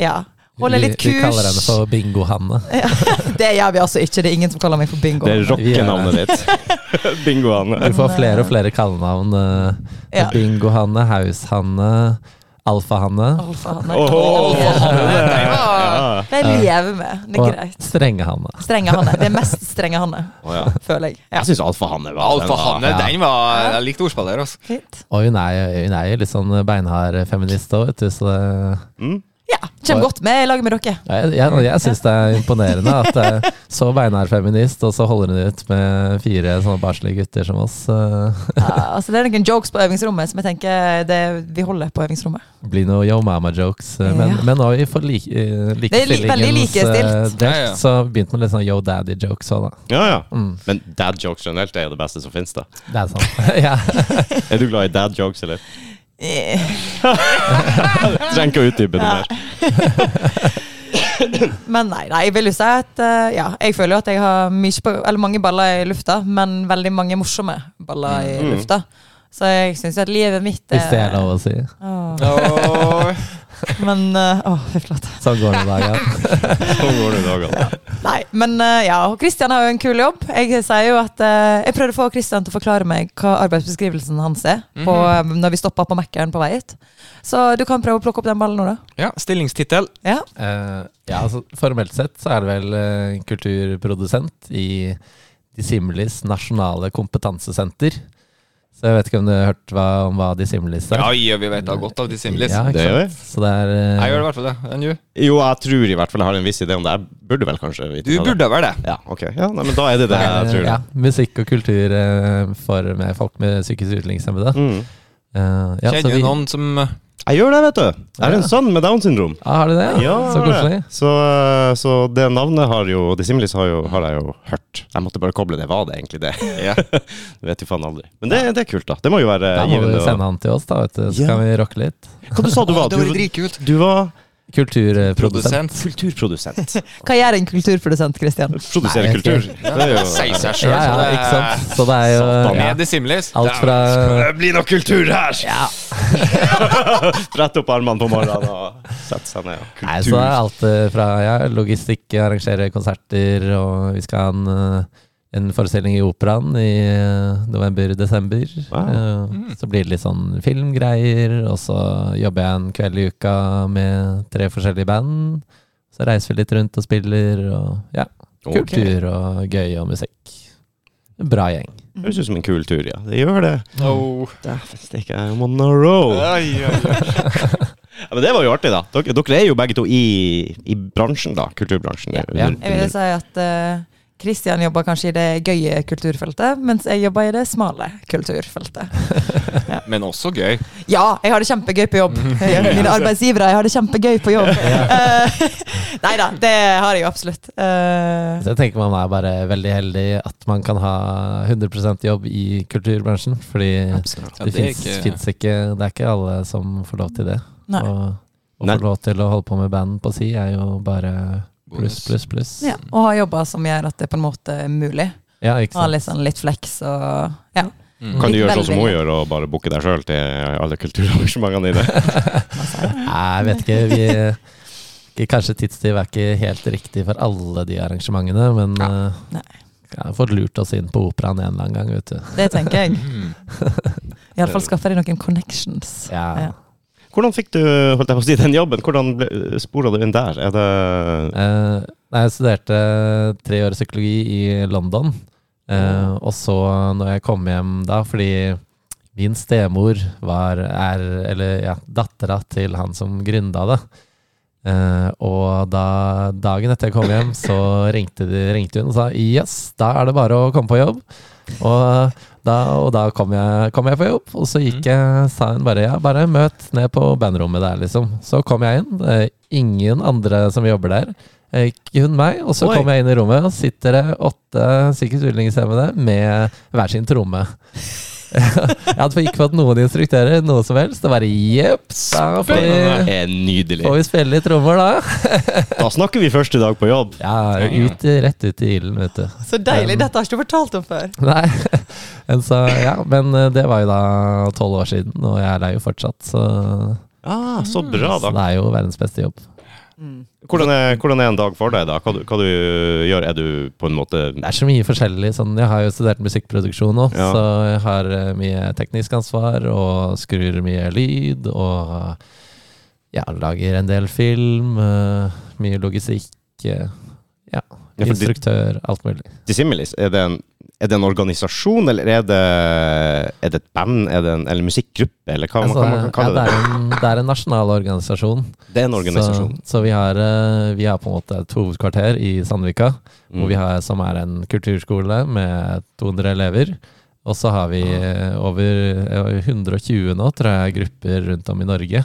C: ja. Holde
D: Vi-
C: litt
D: Vi kaller henne
C: kurs.
D: for Bingo-Hanne.
C: Det gjør vi altså ikke. Det er ingen som kaller meg for bingo.
A: Det er rockenavnet ditt. Bingo-Hanne.
D: Du får flere og flere kallenavn. eh,
C: Eh, Ja.
D: Bingo-Hanne, Haus-Hanne, Alfa-Hanne
C: Alfa, nei.
A: Åh,
C: Jeg lever-
A: ja.
C: Det jeg lever med. Det er
D: og
C: greit.
D: Strenge-Hanne.
C: Strenge Hanne. Det er mest strenge Hanne,
A: Å, ja.
C: føler jeg. Ja.
A: Jeg syns alfahanne var
B: Alfahanne,
A: den var-
B: den var Jeg likte ordspillet der, altså.
C: Fint.
D: Og hun er, hun er jo litt sånn beinhard feminist òg, vet du, så det
A: Mm.
C: Ja, kommer godt med i lag med dere.
D: Ja, Jeg, jeg, jeg syns det er imponerende at eh, så beinhard feminist, og så holder hun ut med fire sånne barnslige gutter som oss. eh,
C: Ja, altså, det er noen jokes på øvingsrommet som jeg tenker det vi holder på øvingsrommet.
D: Blir noe yo mama-jokes. eh, Men,
C: Ja.
D: men nå i for like, eh,
C: Det er li- veldig
D: likestillingens eh,
C: likestilt.
D: drøft,
B: Ja, ja.
D: så begynte man litt sånn yo daddy-jokes òg, da.
A: Ja, ja.
D: Mm.
A: Men dad jokes generelt er jo det beste som finnes, da.
D: Det er sant. ja.
A: Er du glad i dad jokes, eller?
C: Eh,
A: Trenger ikke å utdype det mer.
C: Men nei, nei, jeg vil jo si at eh, ja, jeg føler jo at jeg har mye på, eller mange baller i lufta, men veldig mange morsomme baller i
A: Mm.
C: lufta. Så jeg syns at livet mitt eh,
D: Hvis det er lov å si.
C: Åh,
B: Åh.
C: Men eh, Åh, fy flate.
D: Sånn går det i dag, ja.
A: Sånn går det i dagene.
C: Nei, men eh, ja, og Kristian har jo en kul jobb. Jeg sier jo at eh, Jeg prøvde å få Kristian til å forklare meg hva arbeidsbeskrivelsen hans er, på, eh, når vi stoppa på Mækkern på vei hit. Så du kan prøve å plukke opp den ballen nå, da.
B: Ja, stillingstittel.
C: Ja.
D: Eh, ja, altså formelt sett så er det vel eh, kulturprodusent i Dissimilis nasjonale kompetansesenter. Så jeg vet ikke om du har hørt hva, om hva Dissimilis er?
B: Ja, ja, vi vet da godt av de simlis.
D: Ja,
A: Det
D: ikke
A: gjør
D: sant? Så det er eh,
B: Jeg gjør i hvert fall det. Enn du?
A: Jo, jeg tror i hvert fall jeg har en viss idé om det. Jeg burde vel kanskje vite
B: Du
A: det, da.
B: burde vel det.
A: Ja, ok. Ja, nei, men da er det det jeg tror.
D: ja,
A: da.
D: musikk og kultur eh, for med folk med psykisk utviklingshemmede.
A: Mm.
D: Eh, ja, så
B: Kjenner
D: vi-
B: du noen som eh,
A: Jeg gjør det, vet du. Jeg har en sønn med Downs syndrom.
D: Ah, har du det? så
A: jeg har
D: koselig.
A: det. Så, eh, så det navnet har jo Dissimilis har, jo, har jeg jo hørt. Jeg måtte bare koble det. Var det egentlig det?
B: Ja.
A: Du vet jo faen aldri. Men det, det er kult, da. Det må jo være
D: Da må vi
A: givende.
D: sende han til oss, da, vet du, så
A: Ja.
D: kan vi rocke litt.
A: Hva du sa du var?
B: Det var
A: Du,
B: dritkult.
A: du var
D: Kulturprodusent.
B: Produsent.
A: kulturprodusent.
C: Hva gjør en kulturprodusent, Kristian?
A: Produsere
D: Nei,
A: kultur.
D: jeg
A: Det er jo
B: Sier seg
D: Ja,
B: sjøl.
D: ja, ikke sant? Så det er jo ja,
B: Med de simlis.
D: alt fra
A: Det blir noe kultur her! Brett opp armene på morgenen og sette seg ned. og
D: Nei, så det er alt eh, fra ja, logistikk, arrangere konserter, og vi skal ha en, eh, en forestilling i operaen i eh, november-desember.
A: Wow.
D: Eh, Så blir det litt sånn filmgreier, og så jobber jeg en kveld i uka med tre forskjellige band. Så reiser vi litt rundt og spiller, og ja,
A: Ok.
D: kultur og gøy og musikk. En Bra gjeng.
A: Høres ut som en kul tur, ja. Det gjør det.
B: Oh.
A: Dæven stikke, I'm on a roll. Ja,
B: Ai, ai, ai.
A: men det var jo artig, da. Dere, dere er jo begge to i, i bransjen, da. Kulturbransjen.
D: Ja.
A: Under-
D: Jeg
C: Jeg vil
A: under-
C: si at Kristian jobber kanskje i det gøye kulturfeltet, mens jeg jobber i det smale kulturfeltet.
B: Men også gøy.
C: Ja, jeg har det kjempegøy på jobb. Eh, Mine arbeidsgivere, jeg har det kjempegøy på jobb. Nei da, det har jeg jo absolutt. Eh,
D: Så jeg tenker man er bare veldig heldig at man kan ha 100 jobb i kulturbransjen, fordi
A: Absolutt.
B: Ja,
D: det
B: det er
D: fins
B: ikke-
D: fins ikke Det er ikke alle som får lov til det.
C: Nei.
D: Og å
A: Nei.
D: få lov til å holde på med band på si er jo bare pluss,
B: Bonus.
D: pluss, pluss.
C: ja, og har jobber som gjør at det på en måte er mulig.
D: Ja, ikke
C: Har
D: sant.
C: litt, sånn, litt flex og ja.
B: Mm.
D: Mm.
A: Kan du gjøre sånn som hun
C: Veldig.
A: gjør, og bare booke deg sjøl til alle kulturarrangementene dine?
D: Nei, jeg vet ikke. Vi ikke- Kanskje tidstyv er ikke helt riktig for alle de arrangementene, men
B: Ja.
D: eh,
C: Nei.
D: jeg har fått lurt oss inn på operaen en eller annen gang, vet du.
C: Det tenker jeg.
B: Mm.
C: Iallfall skaffer de noen connections.
D: Ja.
C: Ja.
A: Hvordan fikk du holdt jeg på å si, den jobben? Hvordan spora du inn der? Er det
D: Eh, nei, jeg studerte tre år psykologi i London. Eh, og så, når jeg kom hjem da, fordi min stemor var er, Eller ja, dattera til han som gründa det. Eh, og da, dagen etter jeg kom hjem, så ringte, de, ringte hun og sa yes, da er det bare å komme på jobb. Og da, og da kom, jeg, kom jeg på jobb, og så gikk jeg, sa hun bare ja, bare møt ned på bandrommet der, liksom. Så kom jeg inn. eh, Ingen andre som jobber der. eh, Kun meg. Og så
A: Oi.
D: kom jeg inn i rommet, og sitter det åtte psykisk utviklingshemmede med hver sin tromme. jeg hadde ikke fått noen instruktører, noe som helst. Det bare jepp, da får vi,
A: er nydelig.
D: får vi spille litt trommer, da.
A: Da snakker vi første dag på jobb.
D: Ja, ut, i- rett ut i ilden, vet du.
C: Så deilig! Dette har ikke du fortalt om før.
D: Nei. Men Så, ja, men eh, det var jo da tolv år siden, og jeg er der jo fortsatt. Så,
A: Ah, så bra,
D: så
A: da.
D: det er jo verdens beste jobb.
A: Hvordan er, hvordan er en dag for deg, da? Hva, du- hva du gjør? Er du på en måte
D: Det er så mye forskjellig. Sånn, jeg har jo studert musikkproduksjon nå,
A: Ja.
D: så jeg har eh, mye teknisk ansvar og skrur mye lyd og ja, lager en del film. eh, Mye logistikk. eh, Ja,
A: Ja, for de-
D: instruktør, alt mulig.
A: Dissimilis? Er det en, er det en organisasjon, eller er det, er det et band? Er det en eller musikkgruppe, eller hva
D: Altså,
A: man, hva man kan
D: ja,
A: kalle
D: det,
A: det?
D: er en, det er en nasjonal organisasjon.
A: Det er en organisasjon.
D: Så, så vi, har, eh, vi har på en måte et hovedkvarter i Sandvika,
A: Mm.
D: hvor vi har, som er en kulturskole med 200 elever. Og så har vi eh, over eh, 120 nå, tror jeg, grupper rundt om i Norge.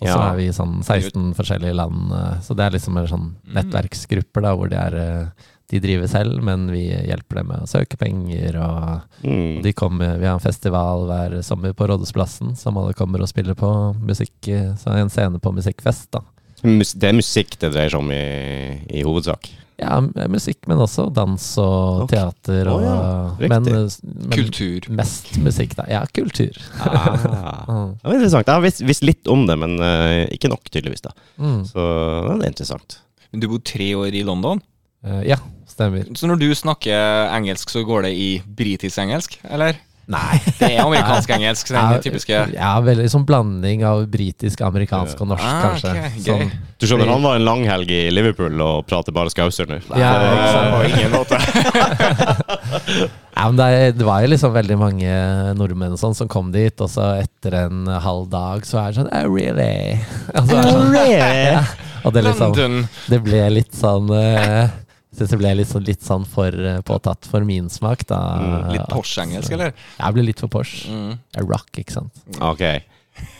D: Og så
A: Ja.
D: har vi sånn 16 forskjellige land. eh, Så det er liksom en sånn
A: Mm.
D: nettverksgrupper da, hvor de, er, eh, de driver selv, men vi hjelper dem med å søke penger. Og
A: Mm.
D: de kommer, vi har en festival hver sommer på Rådhusplassen som alle kommer og spiller på musikk, eh, så en scene på musikkfest. da.
A: Mus- Det er musikk det dreier seg om i, i hovedsak.
D: Ja, m- eh, musikk, men også dans og
A: Ok.
D: teater.
A: Å
D: Og,
A: ja, riktig.
D: men, eh, s- men
B: Kultur.
D: mest musikk, da. Ja, kultur.
A: Ah.
D: Mm.
A: Det var interessant. Jeg har visst, visst litt om det, men eh, ikke nok, tydeligvis. da.
D: Mm.
A: Så ja, det er interessant.
B: Men du bodde tre år i London,
D: Eh, ja, stemmer.
B: så når du snakker engelsk, så går det i britisk-engelsk, eller?
D: Nei.
B: Det er amerikansk-engelsk, den typiske
D: Ja, veldig sånn blanding av britisk, amerikansk og norsk,
B: Ah,
D: kanskje.
B: ok, gøy.
D: Sånn.
A: Du skjønner, han var en langhelg i Liverpool og prater bare skauser nå. Eh,
D: Ja, ikke sant.
A: på ingen måte.
D: Ja, men det, er- det var jo liksom veldig mange nordmenn og sånn som kom dit, og så etter en halv dag så er det sånn oh, Really? Og, så er det sånn,
A: Ja.
D: og det, er liksom,
B: London.
D: det ble litt sånn eh, jeg synes det ble litt sånn, litt sånn for eh, påtatt for min smak, da.
B: Mm, Litt
D: At-
B: Porsche-engelsk, eller?
D: Jeg ble litt for Porsche.
B: Mm.
D: Jeg er rock, ikke sant?
A: Ok.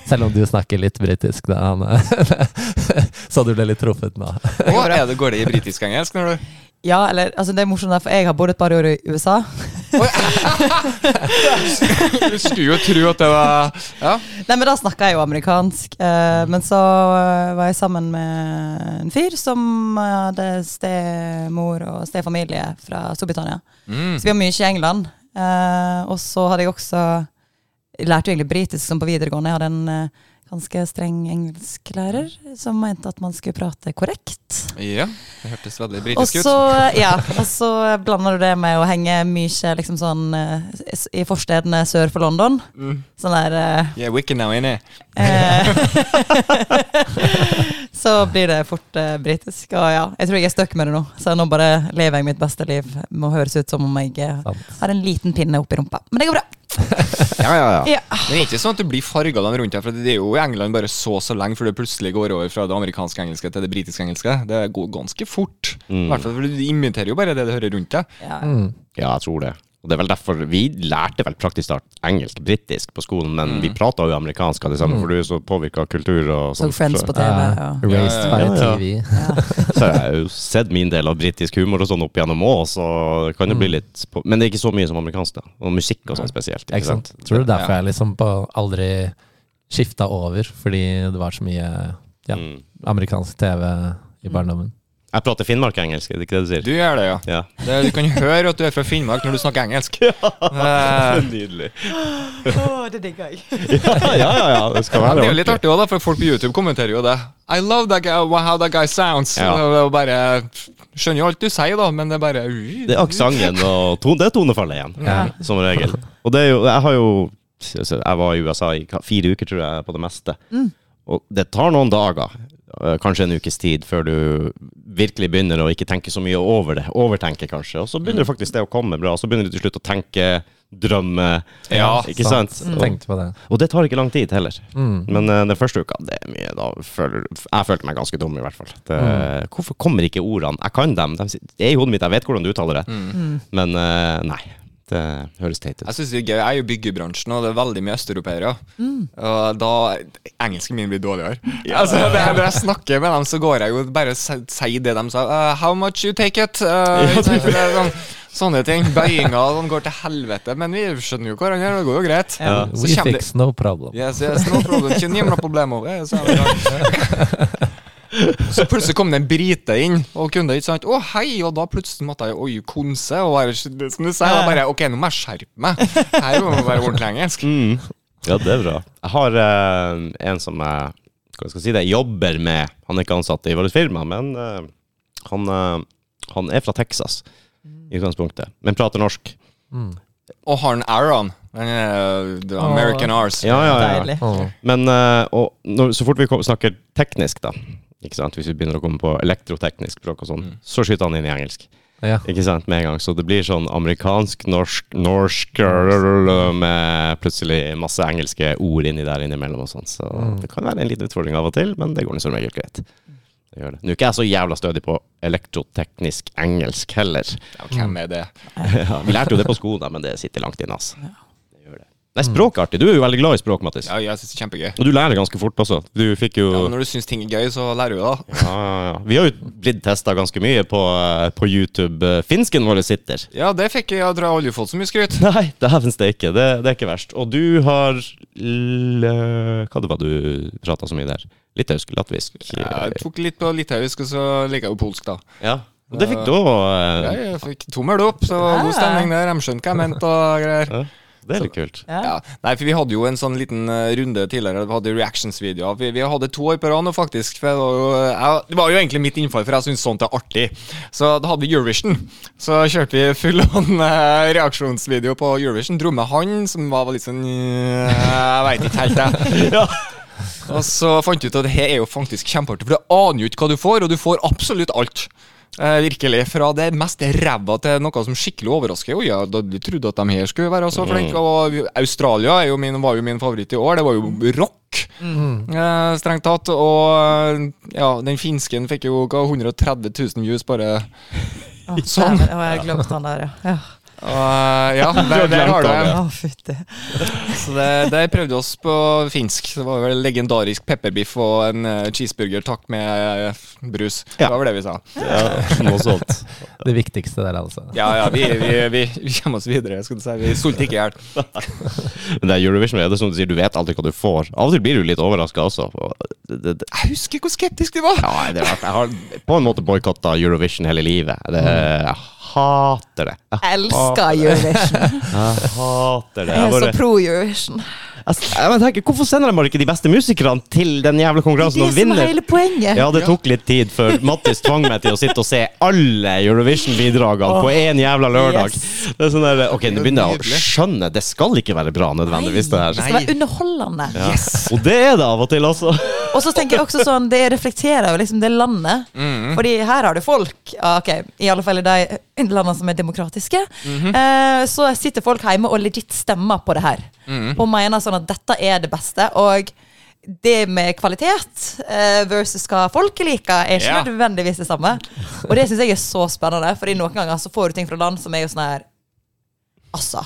D: Selv om du snakker litt britisk, da. Anne. Så du ble litt truffet nå.
B: Å, er det, går det i britisk-engelsk når du
C: Ja, eller, altså Det er morsomt, der, for jeg har bodd et par år i USA.
B: Du skulle jo tro at det var Ja.
C: Nei, men Da snakka jeg jo amerikansk. eh,
B: Mm.
C: men så eh, var jeg sammen med en fyr som hadde stemor og stefamilie fra Storbritannia.
B: Mm.
C: Så vi var mye i England. Eh, og så hadde jeg også jeg lærte jo egentlig britisk som på videregående. Jeg hadde en eh, ganske streng engelsklærer som mente at man skulle prate korrekt.
B: ja. Det hørtes veldig
C: Og
B: britisk
C: så,
B: ut.
C: ja, og så blander du det med å henge mye liksom sånn eh, s- i forstedene sør for London.
B: Mm.
C: Sånn der eh,
B: Yeah, we can now innit.
C: eh, Så blir det fort eh, britisk. Og ja, jeg tror jeg er stuck med det nå. Så nå bare lever jeg mitt beste liv. Må høres ut som om jeg eh,
D: Sant.
C: har en liten pinne oppi rumpa. Men det går bra.
A: Ja, ja, ja.
C: Ja.
B: Men det er ikke sånn at du blir farga dem rundt her, for det er jo i England bare så og så lenge før det plutselig går over fra det amerikanske engelske til det britiske engelske. Det går ganske fort.
A: Mm.
B: I hvert fall for du imiterer jo bare det du hører rundt deg.
C: Ja.
D: Mm.
A: Ja, jeg tror det. Og det er vel derfor Vi lærte vel praktisk talt engelsk-britisk på skolen, men vi prata jo amerikansk alle sammen, for du er så påvirka av kultur og
C: Så
A: sånn.
C: Friends på
A: så,
C: TV.
D: Ja,
C: og-
D: raised by
A: Ja, ja, ja.
D: TV.
A: så jeg har jo sett min del av britisk humor og sånn opp igjennom òg, så det kan det bli litt på, Men det er ikke så mye som amerikansk, da. Og musikk og sånn spesielt.
D: Ikke sant? Tror du
B: Ja.
D: derfor jeg liksom på aldri skifta over, fordi det var så mye ja,
A: Mm.
D: amerikansk TV i barndommen?
A: Jeg prater finnmark-engelsk, er det ikke det du sier?
B: Du gjør det, ja.
A: Ja.
B: Det, du kan høre at du er fra Finnmark når du snakker engelsk. Eh,
A: Nydelig.
C: det digger jeg.
A: Ja, ja, ja, ja. Det skal
B: ja,
A: være
B: det er jo litt artig også da, for folk på YouTube kommenterer jo det. I love that guy, how that guy sounds.
A: Ja.
B: Det er jo bare, skjønner jo alt du sier, da, men det er bare uh.
A: Det er aksenten og ton, det er tonefallet igjen,
D: Ja.
A: som regel. Og det er jo, jeg har jo Jeg var i USA i ka- fire uker, tror jeg, på det meste. Og det tar noen dager, eh, kanskje en ukes tid, før du virkelig begynner å ikke tenke så mye over det. Overtenke, kanskje. Og så begynner faktisk det å komme bra. Og så begynner du til slutt å tenke, drømme.
B: Ja,
A: ikke sant? Og,
D: Tenkte på det.
A: og det tar ikke lang tid heller.
D: Mm.
A: Men eh, den første uka, det er mye. Da føler Jeg følte meg ganske dum, i hvert fall. Det, Hvorfor kommer ikke ordene? Jeg kan dem. De sit- det er i hodet mitt, jeg vet hvordan du uttaler det. Men eh, nei. Det høres teit ut.
B: Jeg synes det er gøy. Jeg er jo i byggebransjen, og det er veldig mye østeuropeere. Og da Engelsken min blir dårligere. Altså, det, er- når jeg snakker med dem, så går jeg jo bare og si- sier det de sa. Uh, how much you take it? Uh, det er sånn, sånne ting. Bøyinga og sånn går til helvete. Men vi skjønner jo hverandre, det går jo greit.
C: Ja.
B: Så
D: We
B: kommer det-
D: fix no problem.
B: Yes, yes, no problem. Ikke nimla problemo. Eh, Så, er det bra. så plutselig kom det en brite inn, og kunde, ikke sant? Å, hei! Og da plutselig måtte jeg oi, konse, og bare, som du sier, og bare Ok, nå må jeg skjerpe meg.
A: Mm.
B: Her må jeg være ordentlig engelsk.
A: Ja, det er bra. Jeg har eh, en som jeg hva skal jeg si det, jobber med Han er ikke ansatt i vårt firma, men eh, han, eh, han er fra Texas i utgangspunktet, men prater norsk.
D: Mm.
B: Og har en Aron. eh, The American Ars.
A: Ja, ja, ja.
C: Deilig.
D: Åh.
A: Men eh, og når, så fort vi kom, snakker teknisk, da ikke sant? Hvis vi begynner å komme på elektroteknisk språk og sånn,
B: Mm.
A: så skyter han inn i engelsk.
D: Ja.
A: Ikke sant, med en gang. Så det blir sånn amerikansk, norsk, norsk øh, rrrrrrr, med plutselig masse engelske ord inni der innimellom og sånn. Så
D: Mm.
A: det kan være en liten utfordring av og til, men det går nå som regel greit. Det gjør det. Nå er ikke jeg så jævla stødig på elektroteknisk engelsk heller.
B: Ja, Hvem er det?
A: Ja, Vi lærte jo det på skolen, da, men det sitter langt inne, altså.
C: Ja.
A: Det gjør det. Nei, språk er artig. Du er jo veldig glad i språk, Mattis.
B: Ja, jeg syns det er kjempegøy.
A: Og du lærer ganske fort også. Du fikk jo
B: Ja, men når du syns ting er gøy, så lærer du det. da.
A: Ja, ja, ja. Vi har jo blitt testa ganske mye på, eh, på YouTube. Eh, Finsken vår sitter.
B: Ja, det fikk jeg. Jeg tror jeg har aldri fått så mye skryt.
A: Nei, dæven steike. Det, det er ikke verst. Og du har l eh, Hva det var du prata så mye der? Litauisk? Latvisk?
B: Ja, Jeg tok litt på litauisk, og så liker jeg jo polsk, da.
A: Ja. Og det fikk du eh,
B: Ja,
A: òg.
B: jeg fikk tommel opp, så det var god stemning der. De skjønte hva jeg mente og greier.
A: Det er litt kult.
C: Ja.
B: Ja. Nei, for vi hadde jo en sånn liten eh, runde tidligere. Vi hadde reactions-videoer. Vi, vi hadde to år på rad nå, faktisk. For det, var jo, jeg, det var jo egentlig mitt innfall, for jeg syns sånt er artig. Så da hadde vi Eurovision. Så kjørte vi full on eh, reaksjonsvideo på Eurovision. Dro med han som var litt sånn eh, Jeg veit ikke helt, jeg. Og så fant jeg ut at det her er jo faktisk kjempeartig, for du aner jo ikke hva du får, og du får absolutt alt. Eh, virkelig. Fra det mest ræva til noe som skikkelig overrasker. Oi, ja, da du trodde at de her skulle være så flinke. Og Australia er jo min, var jo min favoritt i år. Det var jo rock, eh, strengt tatt. Og eh, ja, den finsken fikk jo hva, 130 000 views bare.
C: Å,
B: Sånn.
C: dæven, å, jeg glemte han der, ja. ja.
B: Og, eh, ja, der,
A: glemt
B: der har du
A: av
B: det.
A: Ja.
C: Å, fytti.
B: Så det, der prøvde vi oss på finsk. Det var vel legendarisk pepperbiff og en eh, cheeseburger takk med eh, brus.
A: Ja.
B: Det var vel det vi sa.
A: Ja, noe sånt.
D: Det viktigste der, altså.
B: Ja, ja, vi, vi, vi, vi kommer oss videre. Skal du si. Vi sulte ikke i hjel.
A: Men det er Eurovision er det som du sier, du vet aldri hva du får. Av og til blir du litt overraska også. Og det, det, det.
B: Jeg husker hvor skeptisk du var!
A: Ja, nei, det er rart. Jeg har på en måte boikotta Eurovision hele livet. Det, jeg hater det. Jeg
C: Elsker Eurovision.
A: jeg hater det.
C: Jeg
A: Jeg
C: er
A: bare,
C: så pro Eurovision.
A: Altså, jeg bare tenker, hvorfor sender de bare ikke de beste musikerne til den jævla
C: Det
A: konkurransen
C: er
A: og
C: som er
A: vinner?
C: hele poenget.
A: Ja, det tok litt tid før Mattis tvang meg til å sitte og se alle Eurovision-bidragene på én jævla lørdag.
C: Yes.
A: Det er sånn der, ok, Nå
B: Det er
A: begynner jeg å
B: nydelig.
A: skjønne. Det skal ikke være bra nødvendigvis, det
C: Det
A: her.
C: skal være underholdende.
A: Ja. Og det er det av og til, altså.
C: Og så tenker jeg også sånn, det reflekterer jo liksom det landet. Fordi her har du folk, ja, ok, i alle fall i de landene som er demokratiske, eh, så sitter folk hjemme og legit stemmer på det her. Og mener sånn at dette er det beste, og det med kvalitet eh, versus hva folket liker, er
B: Ja.
C: ikke nødvendigvis det samme. Og det syns jeg er så spennende, fordi noen ganger så får du ting fra land som er jo sånn her Altså.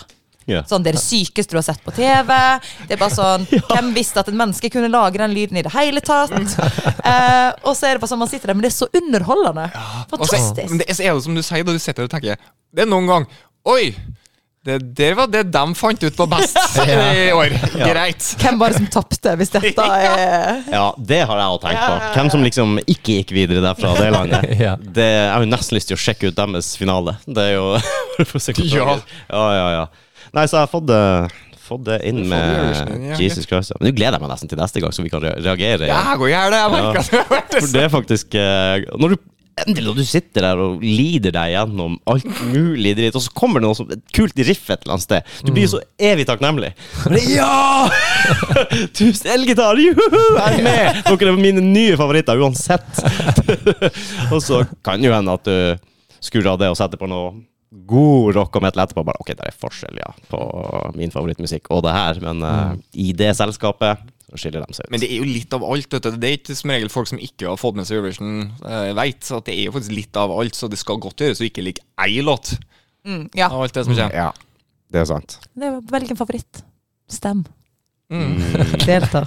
A: Ja.
C: Sånn, det er det sykeste du har sett på TV. Det er bare sånn, Hvem visste at et menneske kunne lage den lyden i det hele tatt? Eh, og så er det bare sånn man sitter der, men det er så underholdende.
B: Og så,
C: Fantastisk.
B: men det så er det som du sier da du sitter der og tenker Det er noen gang Oi! Det der var det de fant ut var best i år. Greit.
C: Hvem var det som tapte, hvis dette er
A: ja, det har jeg òg tenkt på. Hvem som liksom ikke gikk videre derfra det landet.
D: Ja.
A: Det, jeg har jo nesten lyst til å sjekke ut deres finale. Det er jo for å se hvordan det
B: Ja.
A: går. ja, ja, ja. Nei, så jeg har fått det, fått det inn
B: Du får det i
A: med
B: Eurovision, ja.
A: Jesus Christ. ja. Men nå gleder jeg meg nesten til neste gang, så vi kan re- reagere.
B: Ja,
A: igjen.
B: jeg går i hjel, jeg merker at det har vært
A: For det er faktisk eh, Når du endelig når du sitter der og lider deg gjennom alt mulig dritt, og så kommer det noe som, et kult riff et eller annet sted. Du blir så evig takknemlig. Og det- Ja! Tusen elgitar! Juhu! Jeg er med! Dere er mine nye favoritter uansett. og så kan jo hende at du skrur av det og setter på noe god rock om et eller etterpå. Bare, ok, det er forskjell ja, på min favorittmusikk og det her, men eh, i det selskapet så skiller de seg ut.
B: Men det er jo litt av alt. Vet du. Det er ikke som regel folk som ikke har fått med seg Eurovision, uh, veit at det er jo faktisk litt av alt, så det skal godt gjøres å ikke like ei låt
C: mm, Ja.
B: av alt det som kommer.
A: ja, det er sant.
C: Det er- Velg en favoritt. Stem.
A: Mm.
C: Delta.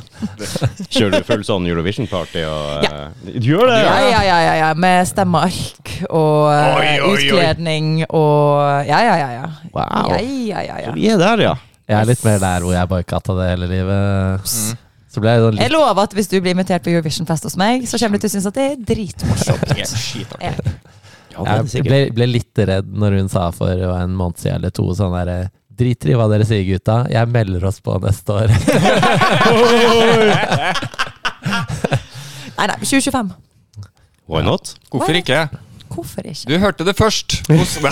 A: Kjører du full sånn Eurovision-party og eh, Du gjør det?
C: Ja, ja, ja, ja, ja. Med stemmeark og
B: Oi,
C: eh,
B: oi, oi.
C: utkledning og Ja, ja, ja. ja.
A: Wow.
C: Ja, ja, ja, ja.
A: Vi er der, ja.
D: Jeg er litt mer der hvor jeg boikotta det hele livet. Så ble jeg sånn
C: Jeg
D: litt
C: lover at hvis du blir invitert på Eurovision-fest hos meg, så kommer du til å synes at det er dritmorsomt.
B: Det er skitartig.
C: Ja.
D: Jeg ble, ble litt redd når hun sa for en måned siden eller to sånn derre Driter i hva dere sier, gutta. Jeg melder oss på neste år.
C: Nei, nei, 2025.
A: Why not?
B: Hvorfor ikke?
C: Hvorfor ikke?
B: Du hørte det først. Hos
A: Du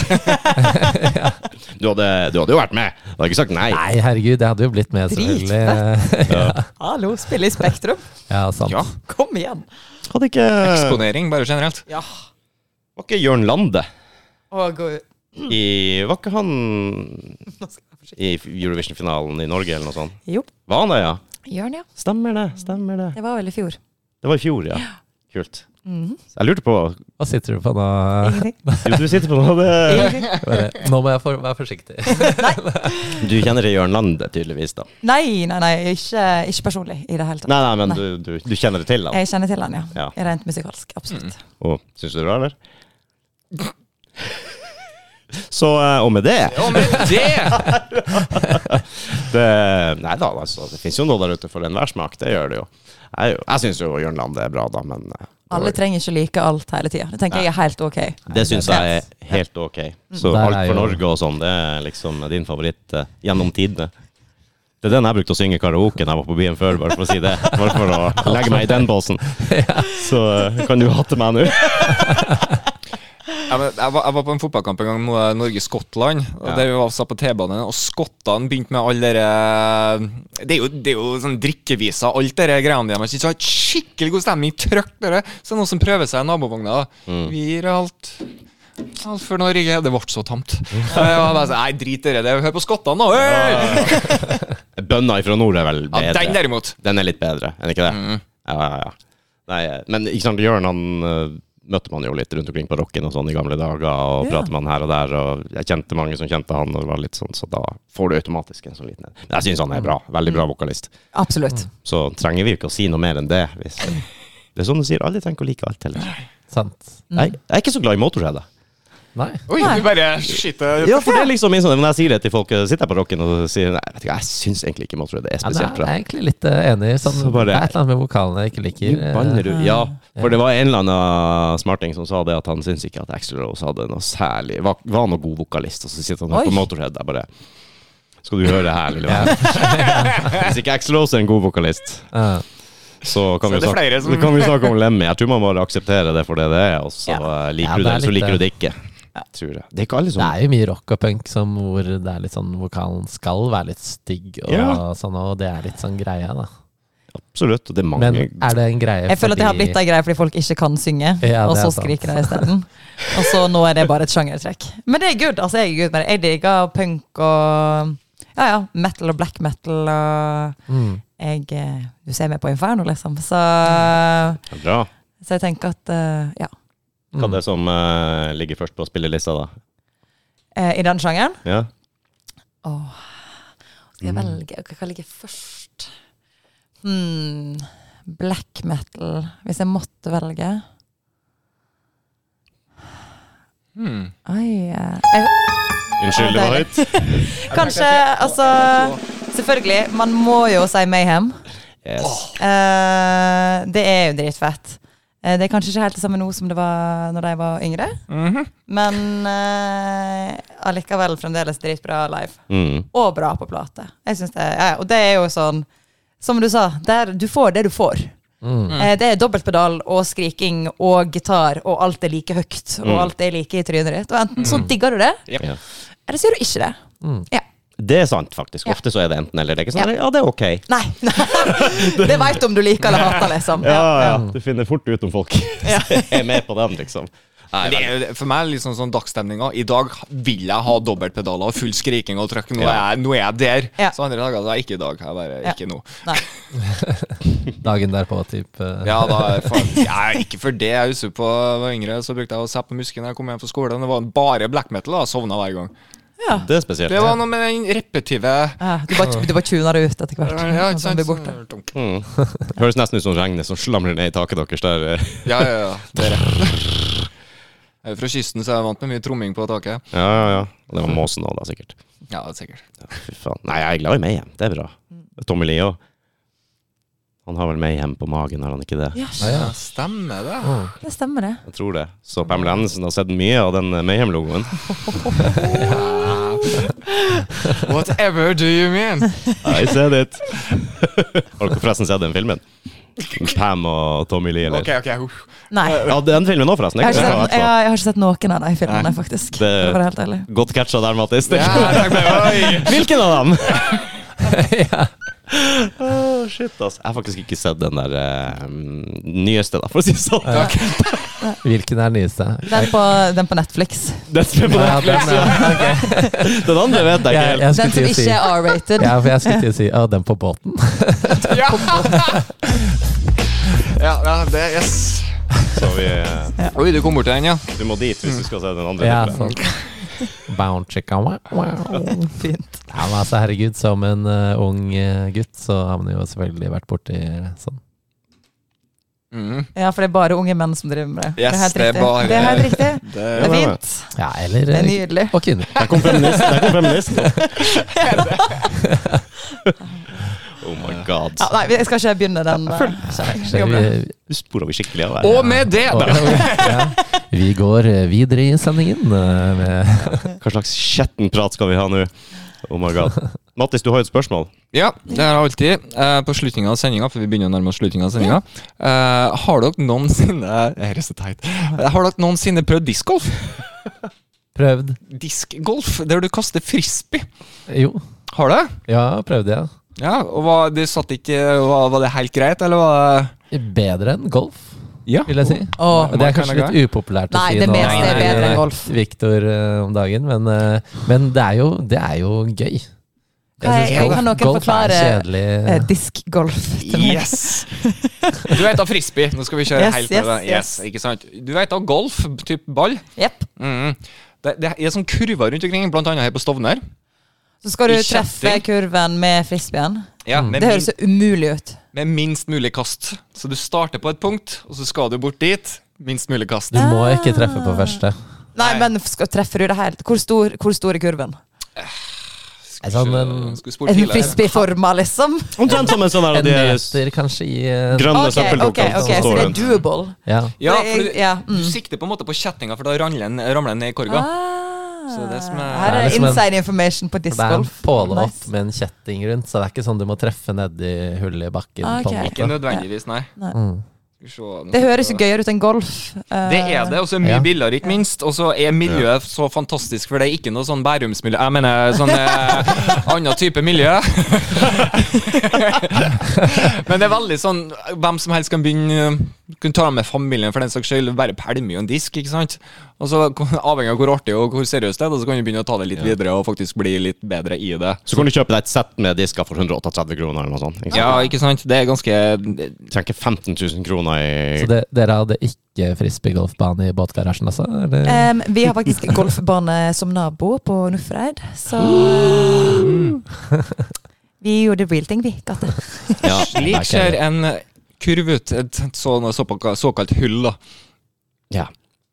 A: hadde, du hadde jo vært med. Du hadde ikke sagt nei.
D: Nei, herregud, jeg hadde jo blitt med,
C: Dritfett.
D: selvfølgelig.
C: Hallo, spille i Spektrum.
D: Ja, sant.
B: ja.
C: Kom igjen.
A: Hadde ikke Var
B: Eksponering, bare generelt.
C: Ja.
A: ikke Jørn Lande
C: Å, gå ut.
A: i Var ikke han
C: Nå skal jeg forsiktig.
A: i Eurovision-finalen i Norge, eller noe sånt?
C: Jo.
A: Var han det, ja?
C: Jørn, ja.
A: Stemmer det. stemmer Det
C: Det var vel i fjor.
A: Det var i fjor, ja. Kult.
C: Mhm.
A: Jeg lurte på
D: Hva sitter du på nå?
C: Ingenting.
A: Du, du sitter på noe det.
C: Ingenting.
D: Bare, Nå må jeg for, være forsiktig.
A: Du kjenner til Jørn Lande, tydeligvis, da.
C: Nei, nei, nei. Ikke, ikke personlig i det hele tatt.
A: Nei, nei, men du, du, du kjenner det til han.
C: Jeg kjenner til han, ja.
A: Ja.
C: Rent musikalsk. Absolutt.
D: Mm.
A: Og syns du det er bra, eller? Så, eh, og med det,
B: Ja, men det!
A: det Nei da, altså, det fins jo noe der ute for enhver smak. Det gjør det jo. Jeg, er jo- jeg syns jo Jørn Lande er bra, da, men eh, det var-
C: Alle trenger ikke like alt hele tida. Det tenker jeg er helt ok.
A: Det syns jeg er helt ok. Så
D: Der er
A: Alt for
D: jo-
A: Norge og sånn, det er liksom din favoritt eh, gjennom tidene. Det er den jeg brukte å synge i karaoke når jeg var på byen før, bare for å si det. Bare for å legge meg i den båsen. Så eh, kan du hate meg nå.
B: Jeg var, jeg var jeg var på en fotballkamp en gang mot Norge-Skottland. og
A: Ja.
B: Der vi var satt på T-banen, og skottene begynte med alle dere Det er jo, det er jo sånn drikkeviser, alt det der greiene deres. Ikke sant? Skikkelig god stemning. Trøkk dere. Så er det noen som prøver seg i nabovogna. da.
A: Mm.
B: Vi gir alt. Alt for Norge. Det ble så tamt. Ja, bare så, Nei, drit i det. det. Hør på skottene, nå! Hey!
A: Bønna ifra nord er vel
B: Ja,
A: bedre.
B: den derimot. Mm.
A: Den er litt bedre, er den ikke det? Ja, ja, ja. Nei, eh, men ikke sant, Jørn han eh, møtte man jo litt rundt omkring på rocken og sånn i gamle dager, og
C: Ja.
A: prater man her og der, og jeg kjente mange som kjente han, og det var litt sånn, så da får du automatisk en sånn liten en. Men jeg syns han er bra. Veldig bra vokalist.
D: Mm.
C: Absolutt.
A: så trenger vi jo ikke å si noe mer enn det. Hvis det er sånn du sier, alle trenger ikke å like alt heller.
D: Sant.
A: Jeg, jeg er ikke så glad i Motorhead. jeg.
D: Nei.
B: Oi,
C: Nei.
B: du bare Shit.
A: Ja, for det er liksom min sånn, Når jeg sier det til folk, eh, sitter jeg på rocken og sier Nei, vet du hva, jeg syns egentlig ikke Motorhead er
D: Ja, men jeg
A: spesielt
D: er
A: bra.
D: egentlig litt eh, enig. Sånn,
A: Så bare-
D: det er et eller annet med vokalene jeg ikke
A: Jo,
D: liker.
A: banner du. Ja, for det var en eller annen smarting som sa det at han syns ikke at Axl Rose hadde noe særlig Var, var noe god vokalist, og så sitter han her på
C: Oi.
A: Motorhead. Jeg bare Skal du høre her, lille venn. Hvis ikke Axl Rose er en god vokalist,
D: Ja.
A: Så kan,
B: Så er
A: vi
B: det
A: snakke,
B: flere som-
A: det kan vi snakke om Lemmy. Jeg tror man bare aksepterer det for det det er, og så
C: Ja.
A: eh, liker
D: Ja,
A: du
D: det
A: det,
D: er
A: eller så
D: litt
A: liker
D: det.
A: du det ikke. Tror jeg. Det er ikke alle
D: Det
A: som
D: er jo mye rock og punk som, hvor det er litt sånn vokalen skal være litt stygg, og,
A: Ja.
D: sånn, og det er litt sånn greia, da.
A: Absolutt, og det er mange
D: Men er det en greie
C: Jeg føler at det har blitt ei greie fordi folk ikke kan synge,
D: Ja,
C: og
D: det er
C: så
D: sant.
C: skriker de isteden. Og så nå er det bare et sjangertrekk. Men det er good. altså Jeg er good med det. Jeg digger punk og ja, ja, metal og black metal og
D: mm.
C: jeg, eh, Du ser meg på Inferno, liksom. Så,
A: Bra.
C: så jeg tenker at eh, ja.
A: Hva er det som eh, ligger først på spillelista, da?
C: Eh, I den sjangeren
A: Ja.
C: Åh. Skal jeg velge Hva- Hva ligger først? Hmm. Black metal, hvis jeg måtte velge.
B: Hmm.
C: Oi, eh, jeg,
A: Unnskyld, det var høyt.
C: kanskje Altså, selvfølgelig. Man må jo si Mayhem.
A: Yes.
C: Eh, det er jo dritfett. Eh, det er kanskje ikke helt det samme nå som det var når de var yngre, men eh, allikevel fremdeles dritbra live.
A: Mm.
C: Og bra på plate. Jeg synes det, ja, og det er jo sånn Som du sa, der, du får det du får. Eh, Det er dobbeltpedal og skriking og gitar, og alt er like høyt. Og alt er like i trynet ditt. Og enten så digger du det,
B: Yep.
A: Ja.
C: eller så gjør du ikke det. Ja.
A: Det er sant, faktisk.
C: Ja.
A: Ofte så er det enten eller. Det er ikke sånn,
C: Ja.
A: ja, det er ok.
C: Nei. det veit du om du liker eller hater, liksom.
A: Ja,
C: Ja.
A: ja. Du finner fort ut om folk er med på den, liksom. Nei,
B: Men Det er, jo- for meg er det liksom sånn dagsstemninga. I dag vil jeg ha dobbeltpedaler og full skriking og trøkk. Nå,
A: Ja.
B: er jeg- nå er jeg der.
C: Ja.
B: Så andre dager så er jeg ikke i dag. Jeg bare
C: Ja.
B: ikke nå.
C: Nei.
D: Dagen derpå, eh, type.
B: Ja, da er faen, jeg er ikke for det. Jeg husker på jeg var yngre, så brukte jeg å seppe på musken når jeg kom hjem fra skolen. Det var bare black metal, og jeg sovna hver gang.
C: Ja.
A: Det er spesielt.
B: Det var noe med den repetive
C: Ja, du bare, du bare tuner det ut etter hvert.
B: ja, ikke
C: og så
B: sant?
C: blir det borte.
B: Sånn, dunk.
A: Mm. Høres nesten ut som regnet som slamrer ned i taket deres der. eh.
B: Ja, ja, ja. Det er det. Jeg er fra kysten, så jeg er vant med mye tromming på taket.
A: Ja, ja, ja. Og det var måsen òg, da, sikkert.
B: Ja, sikkert.
A: Fy faen. Nei, jeg er glad i Mayhem. Det er bra. Tommy Lee òg. Han har vel Mayhem på magen, har han ikke det?
C: Ja,
D: Ja, ja.
B: Ja, stemmer det.
D: Mm.
C: det stemmer, det.
A: Jeg tror det. Så Pamela Andersen har sett mye av den eh, Mayhem-logoen.
B: Whatever do you mean?
A: I said it! har dere forresten sett den filmen? Pam og Tommy Lee, eller
B: Ok, ok. uff.
C: Nei.
A: Ja, den filmen òg, forresten.
C: Jeg
A: Jeg
C: har, ikke
A: kan
C: sett,
A: etterpå.
C: jeg, jeg har ikke sett noen av de filmene, faktisk. Det,
A: Det-
C: var helt ærlig.
A: Godt catcha der, Mattis.
B: Ja, jeg tenkte, oi.
A: Hvilken av dem?
D: ja.
A: Åh, shit, ass. Jeg har faktisk ikke sett den der eh, nyeste, da, for å si det sånn.
D: Hvilken er den nyeste?
C: Den på, den på Netflix.
A: Den som er på
D: Ja,
A: Netflix.
D: den,
A: ja.
D: ja. ok.
A: Den andre vet jeg ikke
D: Jeg,
A: helt.
D: jeg
C: Den
D: skulle
C: som
D: til å si
C: ikke er R-rated.
D: ja, for jeg skulle til å si Å, den på båten.
B: Ja. ja, ja, det Yes.
A: Så vi, eh,
B: Oi, du kom bort til den, ja.
A: du må dit hvis du skal se den andre.
D: Ja,
A: filmen.
D: sånn. Bound chicken. Wow. wow.
C: Fint.
D: Ja, men altså, herregud, som en eh, ung eh, gutt så har man jo selvfølgelig vært borti sånn.
B: Mm.
C: Ja, for det er bare unge menn som driver med det.
B: Yes,
C: det, er helt
B: det er
C: riktig.
B: bare-
C: det er helt riktig.
B: Det,
C: Det er fint.
D: Ja, eller
C: Det er
D: eh,
C: nydelig.
D: Og kvinner.
A: Der kom feminist. Der kom feminist. oh my god.
C: Ja, nei, jeg skal ikke begynne den. eh,
D: Så vi,
C: jobben.
A: Nå sporer vi skikkelig av
B: og
A: her.
B: med det
D: og, ja, vi går eh, videre i sendingen. eh, Med,
A: Hva slags skjetten prat skal vi ha nå? Oh my god. Mattis, du har jo et spørsmål.
B: Ja, det har jeg alltid. Eh, på slutningen av sendinga, for vi begynner å nærme oss slutningen av sendinga. Eh, har dere noensinne Det er så teit. Eh, Har dere noensinne prøvd diskgolf?
D: prøvd.
B: Diskgolf, der du kaster frisbee.
D: Jo,
B: Har du?
D: ja, prøvde jeg.
B: Ja, og var, du satt ikke, var, var det helt greit, eller var
D: Bedre enn golf,
B: det Ja.
D: vil jeg si.
C: Åh,
D: Det er kanskje litt upopulært å
C: Nei,
D: si
C: det
D: nå,
C: meste
B: er bedre
D: eh,
C: enn golf.
D: Victor eh, om dagen, men, eh, men det, er jo, det er jo gøy.
C: Kan jeg-
D: synes
C: kan
D: golf-
C: noen
D: golf er
C: forklare, eh,
D: kjedelig.
C: diskgolf til meg.
B: Yes! Du vet da frisbee. Nå skal vi kjøre
C: Yes,
B: helt på
C: yes,
B: det. Yes,
C: yes.
B: Ikke sant? Du vet da golf, type ball.
C: Jepp.
B: Mhm. Det, det er sånn kurver rundt omkring, blant annet her på Stovner.
C: Så skal du
B: I
C: treffe
B: kjetting.
C: kurven med frisbeen.
B: Ja, med,
C: Mm. Det høres
B: min,
C: så umulig ut.
B: med minst mulig kast. Så du starter på et punkt, og så skal du bort dit. Minst mulig kast.
D: Du må ikke treffe på første.
C: Nei,
B: Nei.
C: men skal, treffer du det helt? Hvor stor, hvor stor er kurven?
D: Er sånn en-
B: Skulle spurt
C: En
B: tidligere.
C: frisbeeforma, liksom?
A: Omtrent som en sånn her
D: En
A: av de her s-
D: meter, kanskje, i eh,
A: grønne
C: Ok, ok,
A: søppeldunkene
C: ok,
A: som
C: så
A: står
C: det er
A: rundt.
C: doable.
D: Ja.
B: Ja,
C: Det er-
B: for du,
C: ja, mm.
B: du sikter på en måte på kjettinga, for da ramler den ramler den ned i korga. Så det som er-
C: Ah, Her
D: Det er
C: er
D: liksom en-
C: inside information på
D: Det er en
C: discgolf.
D: påle opp
C: Nice.
D: med en kjetting rundt, så det er ikke sånn du må treffe nedi hullet i bakken.
C: Ah,
D: på en
C: ok.
D: måte.
B: Ikke nødvendigvis, nei.
D: Mm.
B: Skal vi se, nå
C: Det
B: skal
C: høres
B: vi-
C: jo gøyere ut enn golf. Eh,
B: Det er det, og så er det mye
D: Ja.
B: billigere, ikke minst. Og så er miljøet så fantastisk, for det er ikke noe sånn Bærumsmiljø Jeg mener sånn eh, annen type miljø. Men det er veldig sånn Hvem som helst kan begynne eh, Kunne ta med familien, for den saks skyld. Bare pælme jo en disk, ikke sant. Og så Avhengig av hvor artig og hvor seriøst det er, da, så kan du begynne å ta det litt videre og faktisk bli litt bedre i det.
A: Så kan du kjøpe deg et sett med disker for 138 kroner eller noe sånt. Ikke sant?
B: Ja, ikke sant. Det er ganske
A: Trenger ikke 15 000 kroner i
D: Så det, dere hadde ikke frisbeegolfbane i båtgarasjen, altså? Eller?
A: Eh,
C: Em, vi har faktisk golfbane som nabo på Nordfreid, så eh,
D: Mm.
C: Vi gjorde real thing, vi, Gatte.
D: Altså,
A: ja.
B: Slik ser en kurv ut. Et sånn- såpa- såkalt hull, da.
A: ja.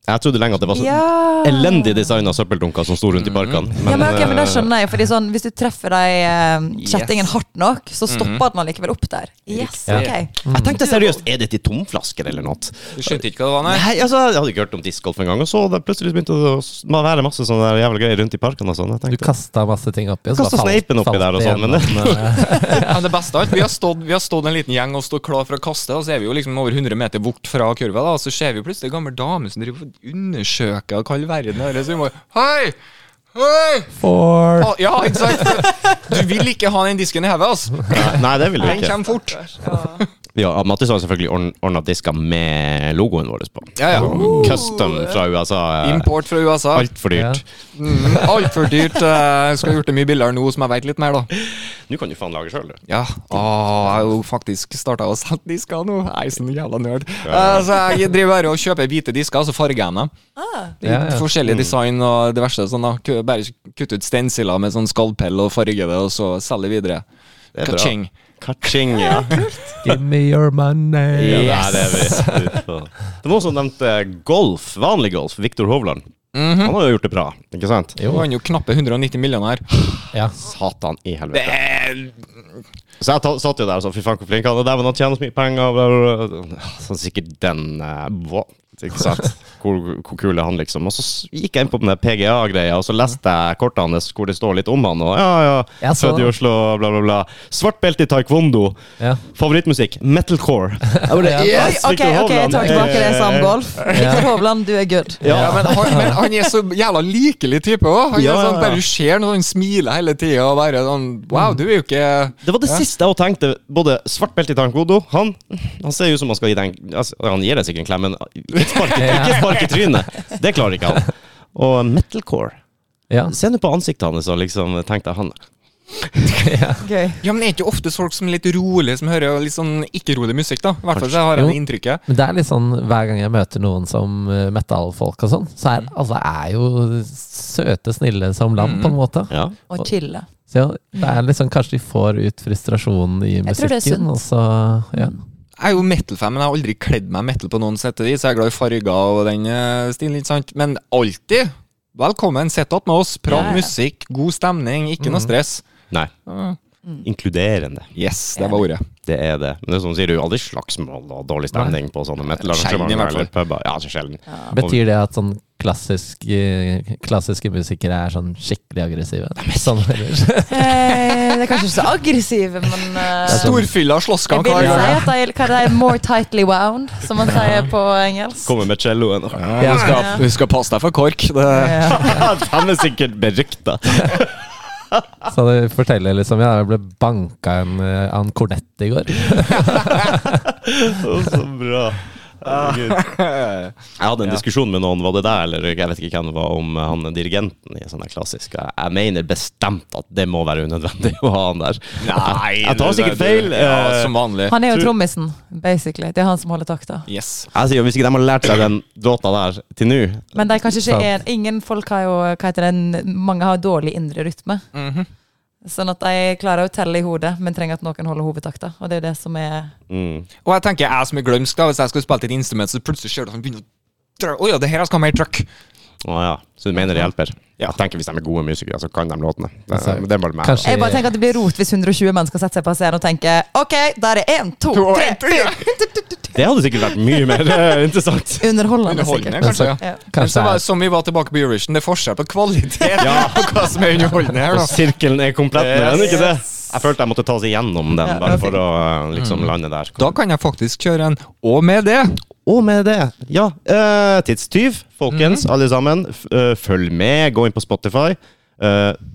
A: Jeg trodde lenge at det var så
C: Ja.
A: elendig designa søppeldunker som sto rundt i parkene.
B: Mm.
C: ja, men, ok, men da
A: eh,
C: skjønner jeg, fordi sånn, Hvis du treffer de eh, kjettingen
B: Yes.
C: hardt nok, så stopper den allikevel opp der. Yes,
B: Riktig.
C: ok.
A: eh, jeg tenkte seriøst, er dette i tomflasker eller noe?
B: Du skjønte ikke hva det var, nei?
A: Nei, altså, Jeg hadde ikke hørt om discgolf engang, og så det plutselig begynte det å s- være masse sånne der jævla greier rundt i parkene og sånn. Jeg
D: Du
A: tenkte,
D: kasta masse ting oppi. og så
A: Kastet
D: bare falt-
A: sneipen oppi
D: falt
A: der og sånn, men det-
D: igjennom, eh,
B: Men det beste av alt, vi har, stått, vi har stått en liten gjeng og stått klar for å kaste, og så er vi jo liksom over 100 meter bort fra kurva, da, og så ser vi jo plutselig en gammel dame som driver og undersøker hva all verden er, så vi må Hei! Hei!
D: for-
B: Å, ja, ikke sant? Du vil ikke ha den disken i hodet, altså.
A: Nei, det ville
B: Den
A: vi ikke.
B: kommer fort.
A: Ja, Mattis har selvfølgelig ordna disker med logoen vår på.
B: Ja, ja.
A: Custom fra USA. eh,
B: Uh. Import fra USA.
A: Altfor dyrt.
B: Mm, Altfor dyrt. eh, Skulle gjort det mye billigere nå som jeg vet litt mer, da.
A: Nå kan du faen lage sjøl, du.
B: Ja. Å, jeg har jo faktisk starta å selge disker nå. Jeg er sånn jævla nerd. Eh, Så jeg driver bare og kjøper hvite disker, og så farger jeg dem.
D: Ja, ja.
A: Mm.
B: Forskjellig design og diverse sånn da Ku- Bare kutte ut stensiler med sånn skallpell og farge det, og så selge videre.
A: er bra.
B: Kaching.
A: Kaching, ja.
D: Give me your money.
A: Ja, der er vi. Fy faen. Det var noen som nevnte golf. Vanlig golf. Viktor Hovland.
D: Mhm.
A: Han har jo gjort det bra, ikke sant?
B: Nå er han jo knappe 190 millioner her.
D: Ja.
A: Satan i helvete.
B: Det er
A: Så jeg ta- satt jo der og sa fy faen hvor flink han er, der, men han tjener så mye penger. bla, bla, bla. Så sikkert Sånn den eh, hva? Ikke sant? Hvor, hvor kul er han, liksom? Og så s- gikk jeg inn på den der PGA-greia, og så leste jeg kortene hans hvor det står litt om han, og ja, ja,
D: Jeg så
A: født i
D: det.
A: Oslo, bla, bla, bla. Svart belte i taekwondo.
D: Ja.
A: Favorittmusikk metalcore. Jeg bare,
D: Ja.
C: Oi,
A: yes,
C: ok,
A: Victor
C: ok, jeg
A: Hovland.
C: tar tilbake det som
A: Eh,
C: golf. Viktor Hovland, du er good.
B: Ja, men, han, men han er så jævla likelig type òg.
A: Ja, ja, Mm. ja.
B: sånn, Bare du ser når han smiler hele tida og bare sånn Wow, du er jo ikke
A: Det var det siste jeg også tenkte. Både svart belte i taekwondo Han, han ser jo ut som han skal gi den altså, Han gir deg sikkert en klem, men ikke spark i- ikke spark i trynet. Det klarer ikke han. Og metalcore.
D: Ja.
A: Se nå på ansiktet hans, og liksom tenkte jeg, han
C: Gøy.
B: Ja, men er ikke ofte folk som er litt rolig, som hører litt sånn ikke-rolig musikk, da? I hvert fall så har jeg det
D: Jo.
B: inntrykket.
D: Men det er litt sånn hver gang jeg møter noen som eh, metal-folk og sånn, så
A: Mm.
D: er alle er jo søte, snille som lam, på en måte.
A: Mm. Ja.
C: Og chille.
D: Så ja, det er liksom kanskje de får ut frustrasjonen i
C: Jeg tror det er
D: musikken,
C: sunt.
D: og så ja.
B: Jeg er jo metal-fan, men jeg har aldri kledd meg metal på noen sett og vis. Jeg er glad i farger og den eh, stilen, ikke sant. Men alltid velkommen. Sett att med oss. Prat
C: Ja, ja.
B: musikk, god stemning, ikke noe stress.
A: Nei. Inkluderende.
B: Yes, det var ordet.
A: Det er det. Men det er som du sier, det er jo aldri slagsmål og dårlig stemning på sånne
B: Sjelden i hvert
A: metalarrangementer
B: fall.
A: eller puber. Ja, så sjelden.
D: Betyr det at sånn klassisk, eh, klassiske musikere er sånn skikkelig aggressive? Sånn, eller?
C: Eh, det er kanskje ikke så aggressive, men eh,
B: Storfylla
C: jeg
B: slåsskamp
C: vil
B: hver
C: si
B: gang.
C: at de hva er det, more tightly wound, som man sier på engelsk.
A: Kommer med celloen og
B: Ja, du, skal,
C: Ja.
B: du skal passe deg for kork. Det,
C: Ja.
A: Han er sikkert berykta.
D: så det forteller liksom Ja, jeg ble banka en, eh, av en kornett i går.
A: Å, Så bra. Herregud. Jeg hadde en diskusjon med noen, var det der, eller jeg vet ikke hvem det var, om han dirigenten i sånn sånne klassiske. Jeg- Jeg mener bestemt at det må være unødvendig å ha han der. jeg, jeg tar
B: det-
A: sikkert
B: det-
A: feil.
B: Ja, altså,
A: eh,
B: som vanlig.
C: Han er jo
A: Tror-
C: trommisen, basically. Det er han som holder takta.
B: Yes.
A: Jeg sier, Hvis ikke de har lært seg den låta der til nå
C: Men de er kanskje ikke en, ingen folk har jo hva heter det, Mange har dårlig indre rytme. Sånn at de klarer å telle i hodet, men trenger at noen holder hovedtakta. Og det er jo det som er
A: mm.
B: Og jeg tenker jeg som er glømsk, da, hvis jeg skal spille et instrument, så plutselig ser du at han begynner å dra Å ja, det her skal ha mer trøkk.
A: Å ja. Så du mener det hjelper?
B: Ja.
A: Jeg tenker Hvis de er gode musikere, så kan de låtene. Det,
D: Altså,
A: det er bare meg.
D: kanskje-
C: Jeg bare tenker at det blir rot hvis 120 mennesker setter seg på scenen og tenker OK, der er én, to,
B: To og
C: tre,
B: en, tre.
C: fire.
A: Det hadde sikkert vært mye mer eh, interessant.
C: Underholdende,
B: Underholdende,
C: sikkert.
B: kanskje. ja.
C: Ja.
B: Men så
D: Kanskje
B: var,
D: det er
B: som vi var tilbake på Eurovision, det er forskjell på kvalitet
A: Ja.
B: og hva som er underholdende her,
A: Og
B: da.
A: sirkelen er komplett nå, er den ikke det?
C: Yes.
A: Jeg følte jeg måtte ta oss igjennom den,
C: Ja,
A: bare
C: ok.
A: for å eh, liksom lande der.
B: Da kan jeg faktisk kjøre en Og med det
A: Og med det, ja. eh, tidstyv, folkens, alle sammen. F eh, følg med, gå inn på Spotify. Eh,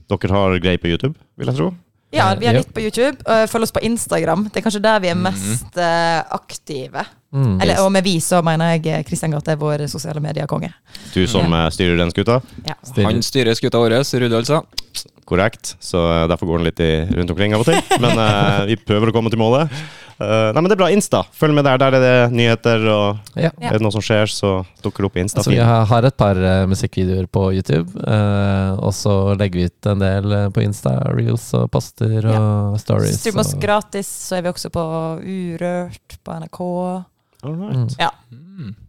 A: dere har greier på YouTube, vil jeg tro.
C: Ja, vi er
D: Ja.
C: litt på YouTube. og Følg oss på Instagram. Det er kanskje der vi er mest eh, aktive. Eller, og med vi så mener jeg Kristian Gate er vår sosiale mediekonge.
A: Du som eh, styrer den skuta.
C: Ja.
B: Han styrer skuta vår, Rudi, altså.
A: Korrekt. Så eh, derfor går den litt i, rundt omkring av og til. Men eh, vi prøver å komme til målet. Eh, nei, men det er bra. Insta. Følg med der. Der er det nyheter, og
D: Ja.
A: er det noe som skjer, så dukker det opp i Insta.
D: Altså, vi har har et par eh, musikkvideoer på YouTube, eh, og så legger vi ut en del eh, på Insta, reels og poster og stories.
C: Stream oss
D: og-
C: gratis, så er vi også på Urørt, på NRK.
A: Alright.
D: Mm.
C: Ja.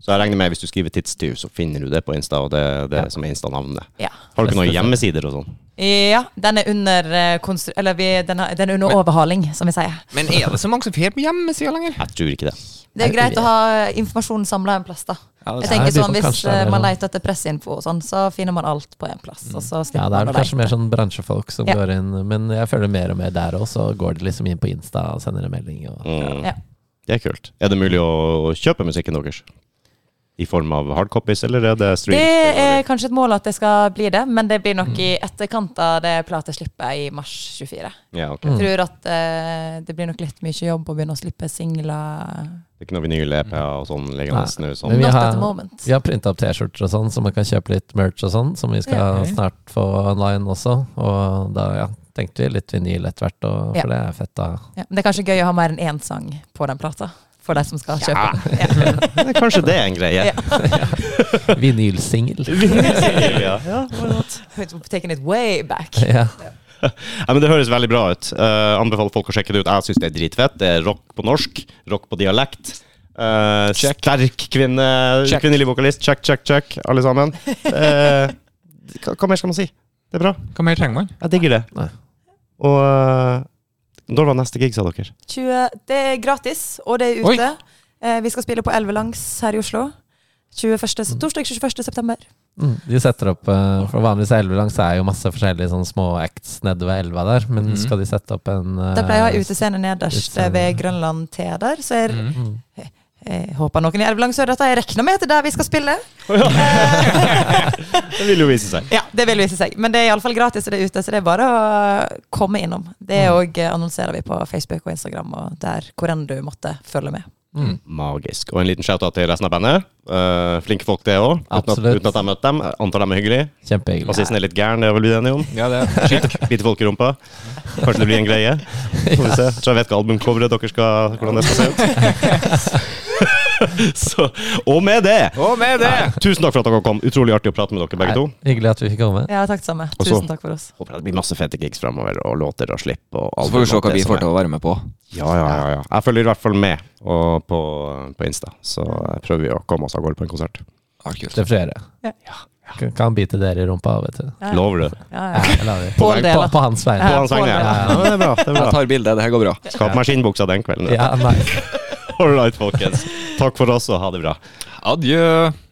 A: Så jeg regner med hvis du skriver tidstyv, så finner du det på Insta, og det er det
D: Ja.
A: som er Insta-navnet.
C: Ja.
A: Har dere noen hjemmesider og sånn?
C: ja. Den er under eh, konstru... Eller vi, den, har, den er under
B: Men-
C: overhaling, som vi sier.
B: Men er det så mange som drar på hjemmesida lenger?
A: Jeg tror ikke det.
C: Det er greit å ha informasjon samla en plass, da.
B: Ja,
C: Jeg
D: er liksom.
C: tenker sånn,
D: det de som
C: Hvis
D: kanskje er
C: eh,
D: det,
C: man
D: da.
C: leter etter presseinfo og sånn, så finner man alt på én plass. Og så
D: Mm. Ja,
C: slipper
D: det er
C: man
D: vel
C: å
D: kanskje
C: lete.
D: mer sånn bransjefolk som
C: Ja.
D: går inn, men jeg føler mer og mer der òg, så går de liksom inn på Insta og sender en melding. Og,
A: Mm.
C: Ja.
A: Det er kult. Er det mulig å kjøpe musikken deres? I form av hardcopies, eller er det stream?
C: Det er kanskje et mål at det skal bli det, men det blir nok
D: Mm.
C: i etterkant av det plateslippet i mars 24.
A: Ja, ok.
C: Jeg
D: Mm.
C: tror at eh, det blir nok litt mye jobb å begynne å slippe singler
A: Det er ikke noe vinyl, EP og sånn liggende nå?
D: Men
A: Sånn.
D: vi
C: not
D: har-
C: at the moment.
D: vi har printa opp T-skjorter og sånn, så man kan kjøpe litt merch og sånn, som vi skal
C: Ja.
D: snart få online også. Og da ja, tenkte vi litt vinyl etter hvert, og,
C: Ja.
D: for det er fett. da
C: Ja, men det er kanskje gøy å ha mer enn én sang på den plata, for de som skal kjøpe. den.
A: Kanskje det er en greie.
C: Ja.
D: Vinylsingel.
A: ja. ja.
C: Taking it way back.
D: ja.
A: Ja, men Det høres veldig bra ut. Eh, anbefaler folk å sjekke det ut. Jeg syns det er dritfett. Det er rock på norsk, rock på dialekt. Eh,
B: Check.
A: sterk kvinne,
B: Check.
A: kvinnelig vokalist. Check, check, check, alle sammen. Eh, hva, hva mer skal man si? Det er bra.
B: Hva mer trenger man?
A: Jeg digger det.
D: Nei.
A: Og eh, når var neste gig, sa dere?
C: 20, det er gratis, og det er
B: Oi.
C: ute. Eh, vi skal spille på Elvelangs her i Oslo. 21, torsdag 21. september.
D: Mm, de setter opp eh, For vanligvis i elvelangs er jo masse forskjellige sånne små acts nede ved elva der, men
B: Mhm.
D: skal de sette opp en eh,
C: Da pleier jeg å ha utescene nederst eh, ved Grønland T der, så jeg
B: Mm.
D: mm.
C: eh, håper noen i Elvelang Sør at jeg regner med at det er der vi skal spille. Eh,
A: Det vil jo vise seg.
C: Ja, det vil vise seg. Men det er iallfall gratis, og det er ute, så det er bare å komme innom. Det òg eh, annonserer vi på Facebook og Instagram, og der hvor enn du måtte følge med.
D: Mm.
A: Magisk. Og en liten shout-out til resten av bandet. Eh, flinke folk, det òg. Uten, at-
D: Absolutt.
A: uten at jeg har møtt dem. Jeg Antar de er hyggelige.
D: Kjempehyggelig.
A: Bassisten er litt gæren, det er vel vi enige om?
B: Ja, det er skikk.
A: Bite folk i rumpa. Kanskje det blir en greie. Får vi se. Så jeg vet hva albumcoveret dere skal Hvordan det skal se ut. Så, og med det
B: Og med det!
A: Tusen takk for at dere kom. Utrolig artig å prate med dere begge to.
D: Nei, Hyggelig at vi fikk komme.
C: Ja, takk det samme.
A: Og så-
C: Tusen takk for oss.
A: Håper det blir masse fete gigs framover, og låter og slipp. Og
B: Så får vi se hva vi får til
A: til.
B: å være med på.
A: Ja, ja, ja, ja. Jeg følger i hvert fall med og på, på Insta, så prøver vi å komme oss av gårde på en konsert.
B: Ja, kult.
D: Det får vi gjøre.
C: Ja.
D: Kan- Kan bite dere i rumpa, vet du.
C: Ja,
A: Lover du?
C: Ja,
D: Ja,
C: ja.
D: det lar vi.
C: På en del,
D: på,
C: da.
D: på hans vegne.
A: På
C: Ja,
A: hans
C: på
A: vegne?
C: det.
A: Ja, Ja, det er bra. det er
B: Jeg
A: bra.
B: tar bilde, det her går bra.
A: Skal på meg skinnbuksa den kvelden.
D: Ja, nice.
A: All right, folkens. Takk for oss, og ha det bra.
B: Adjø.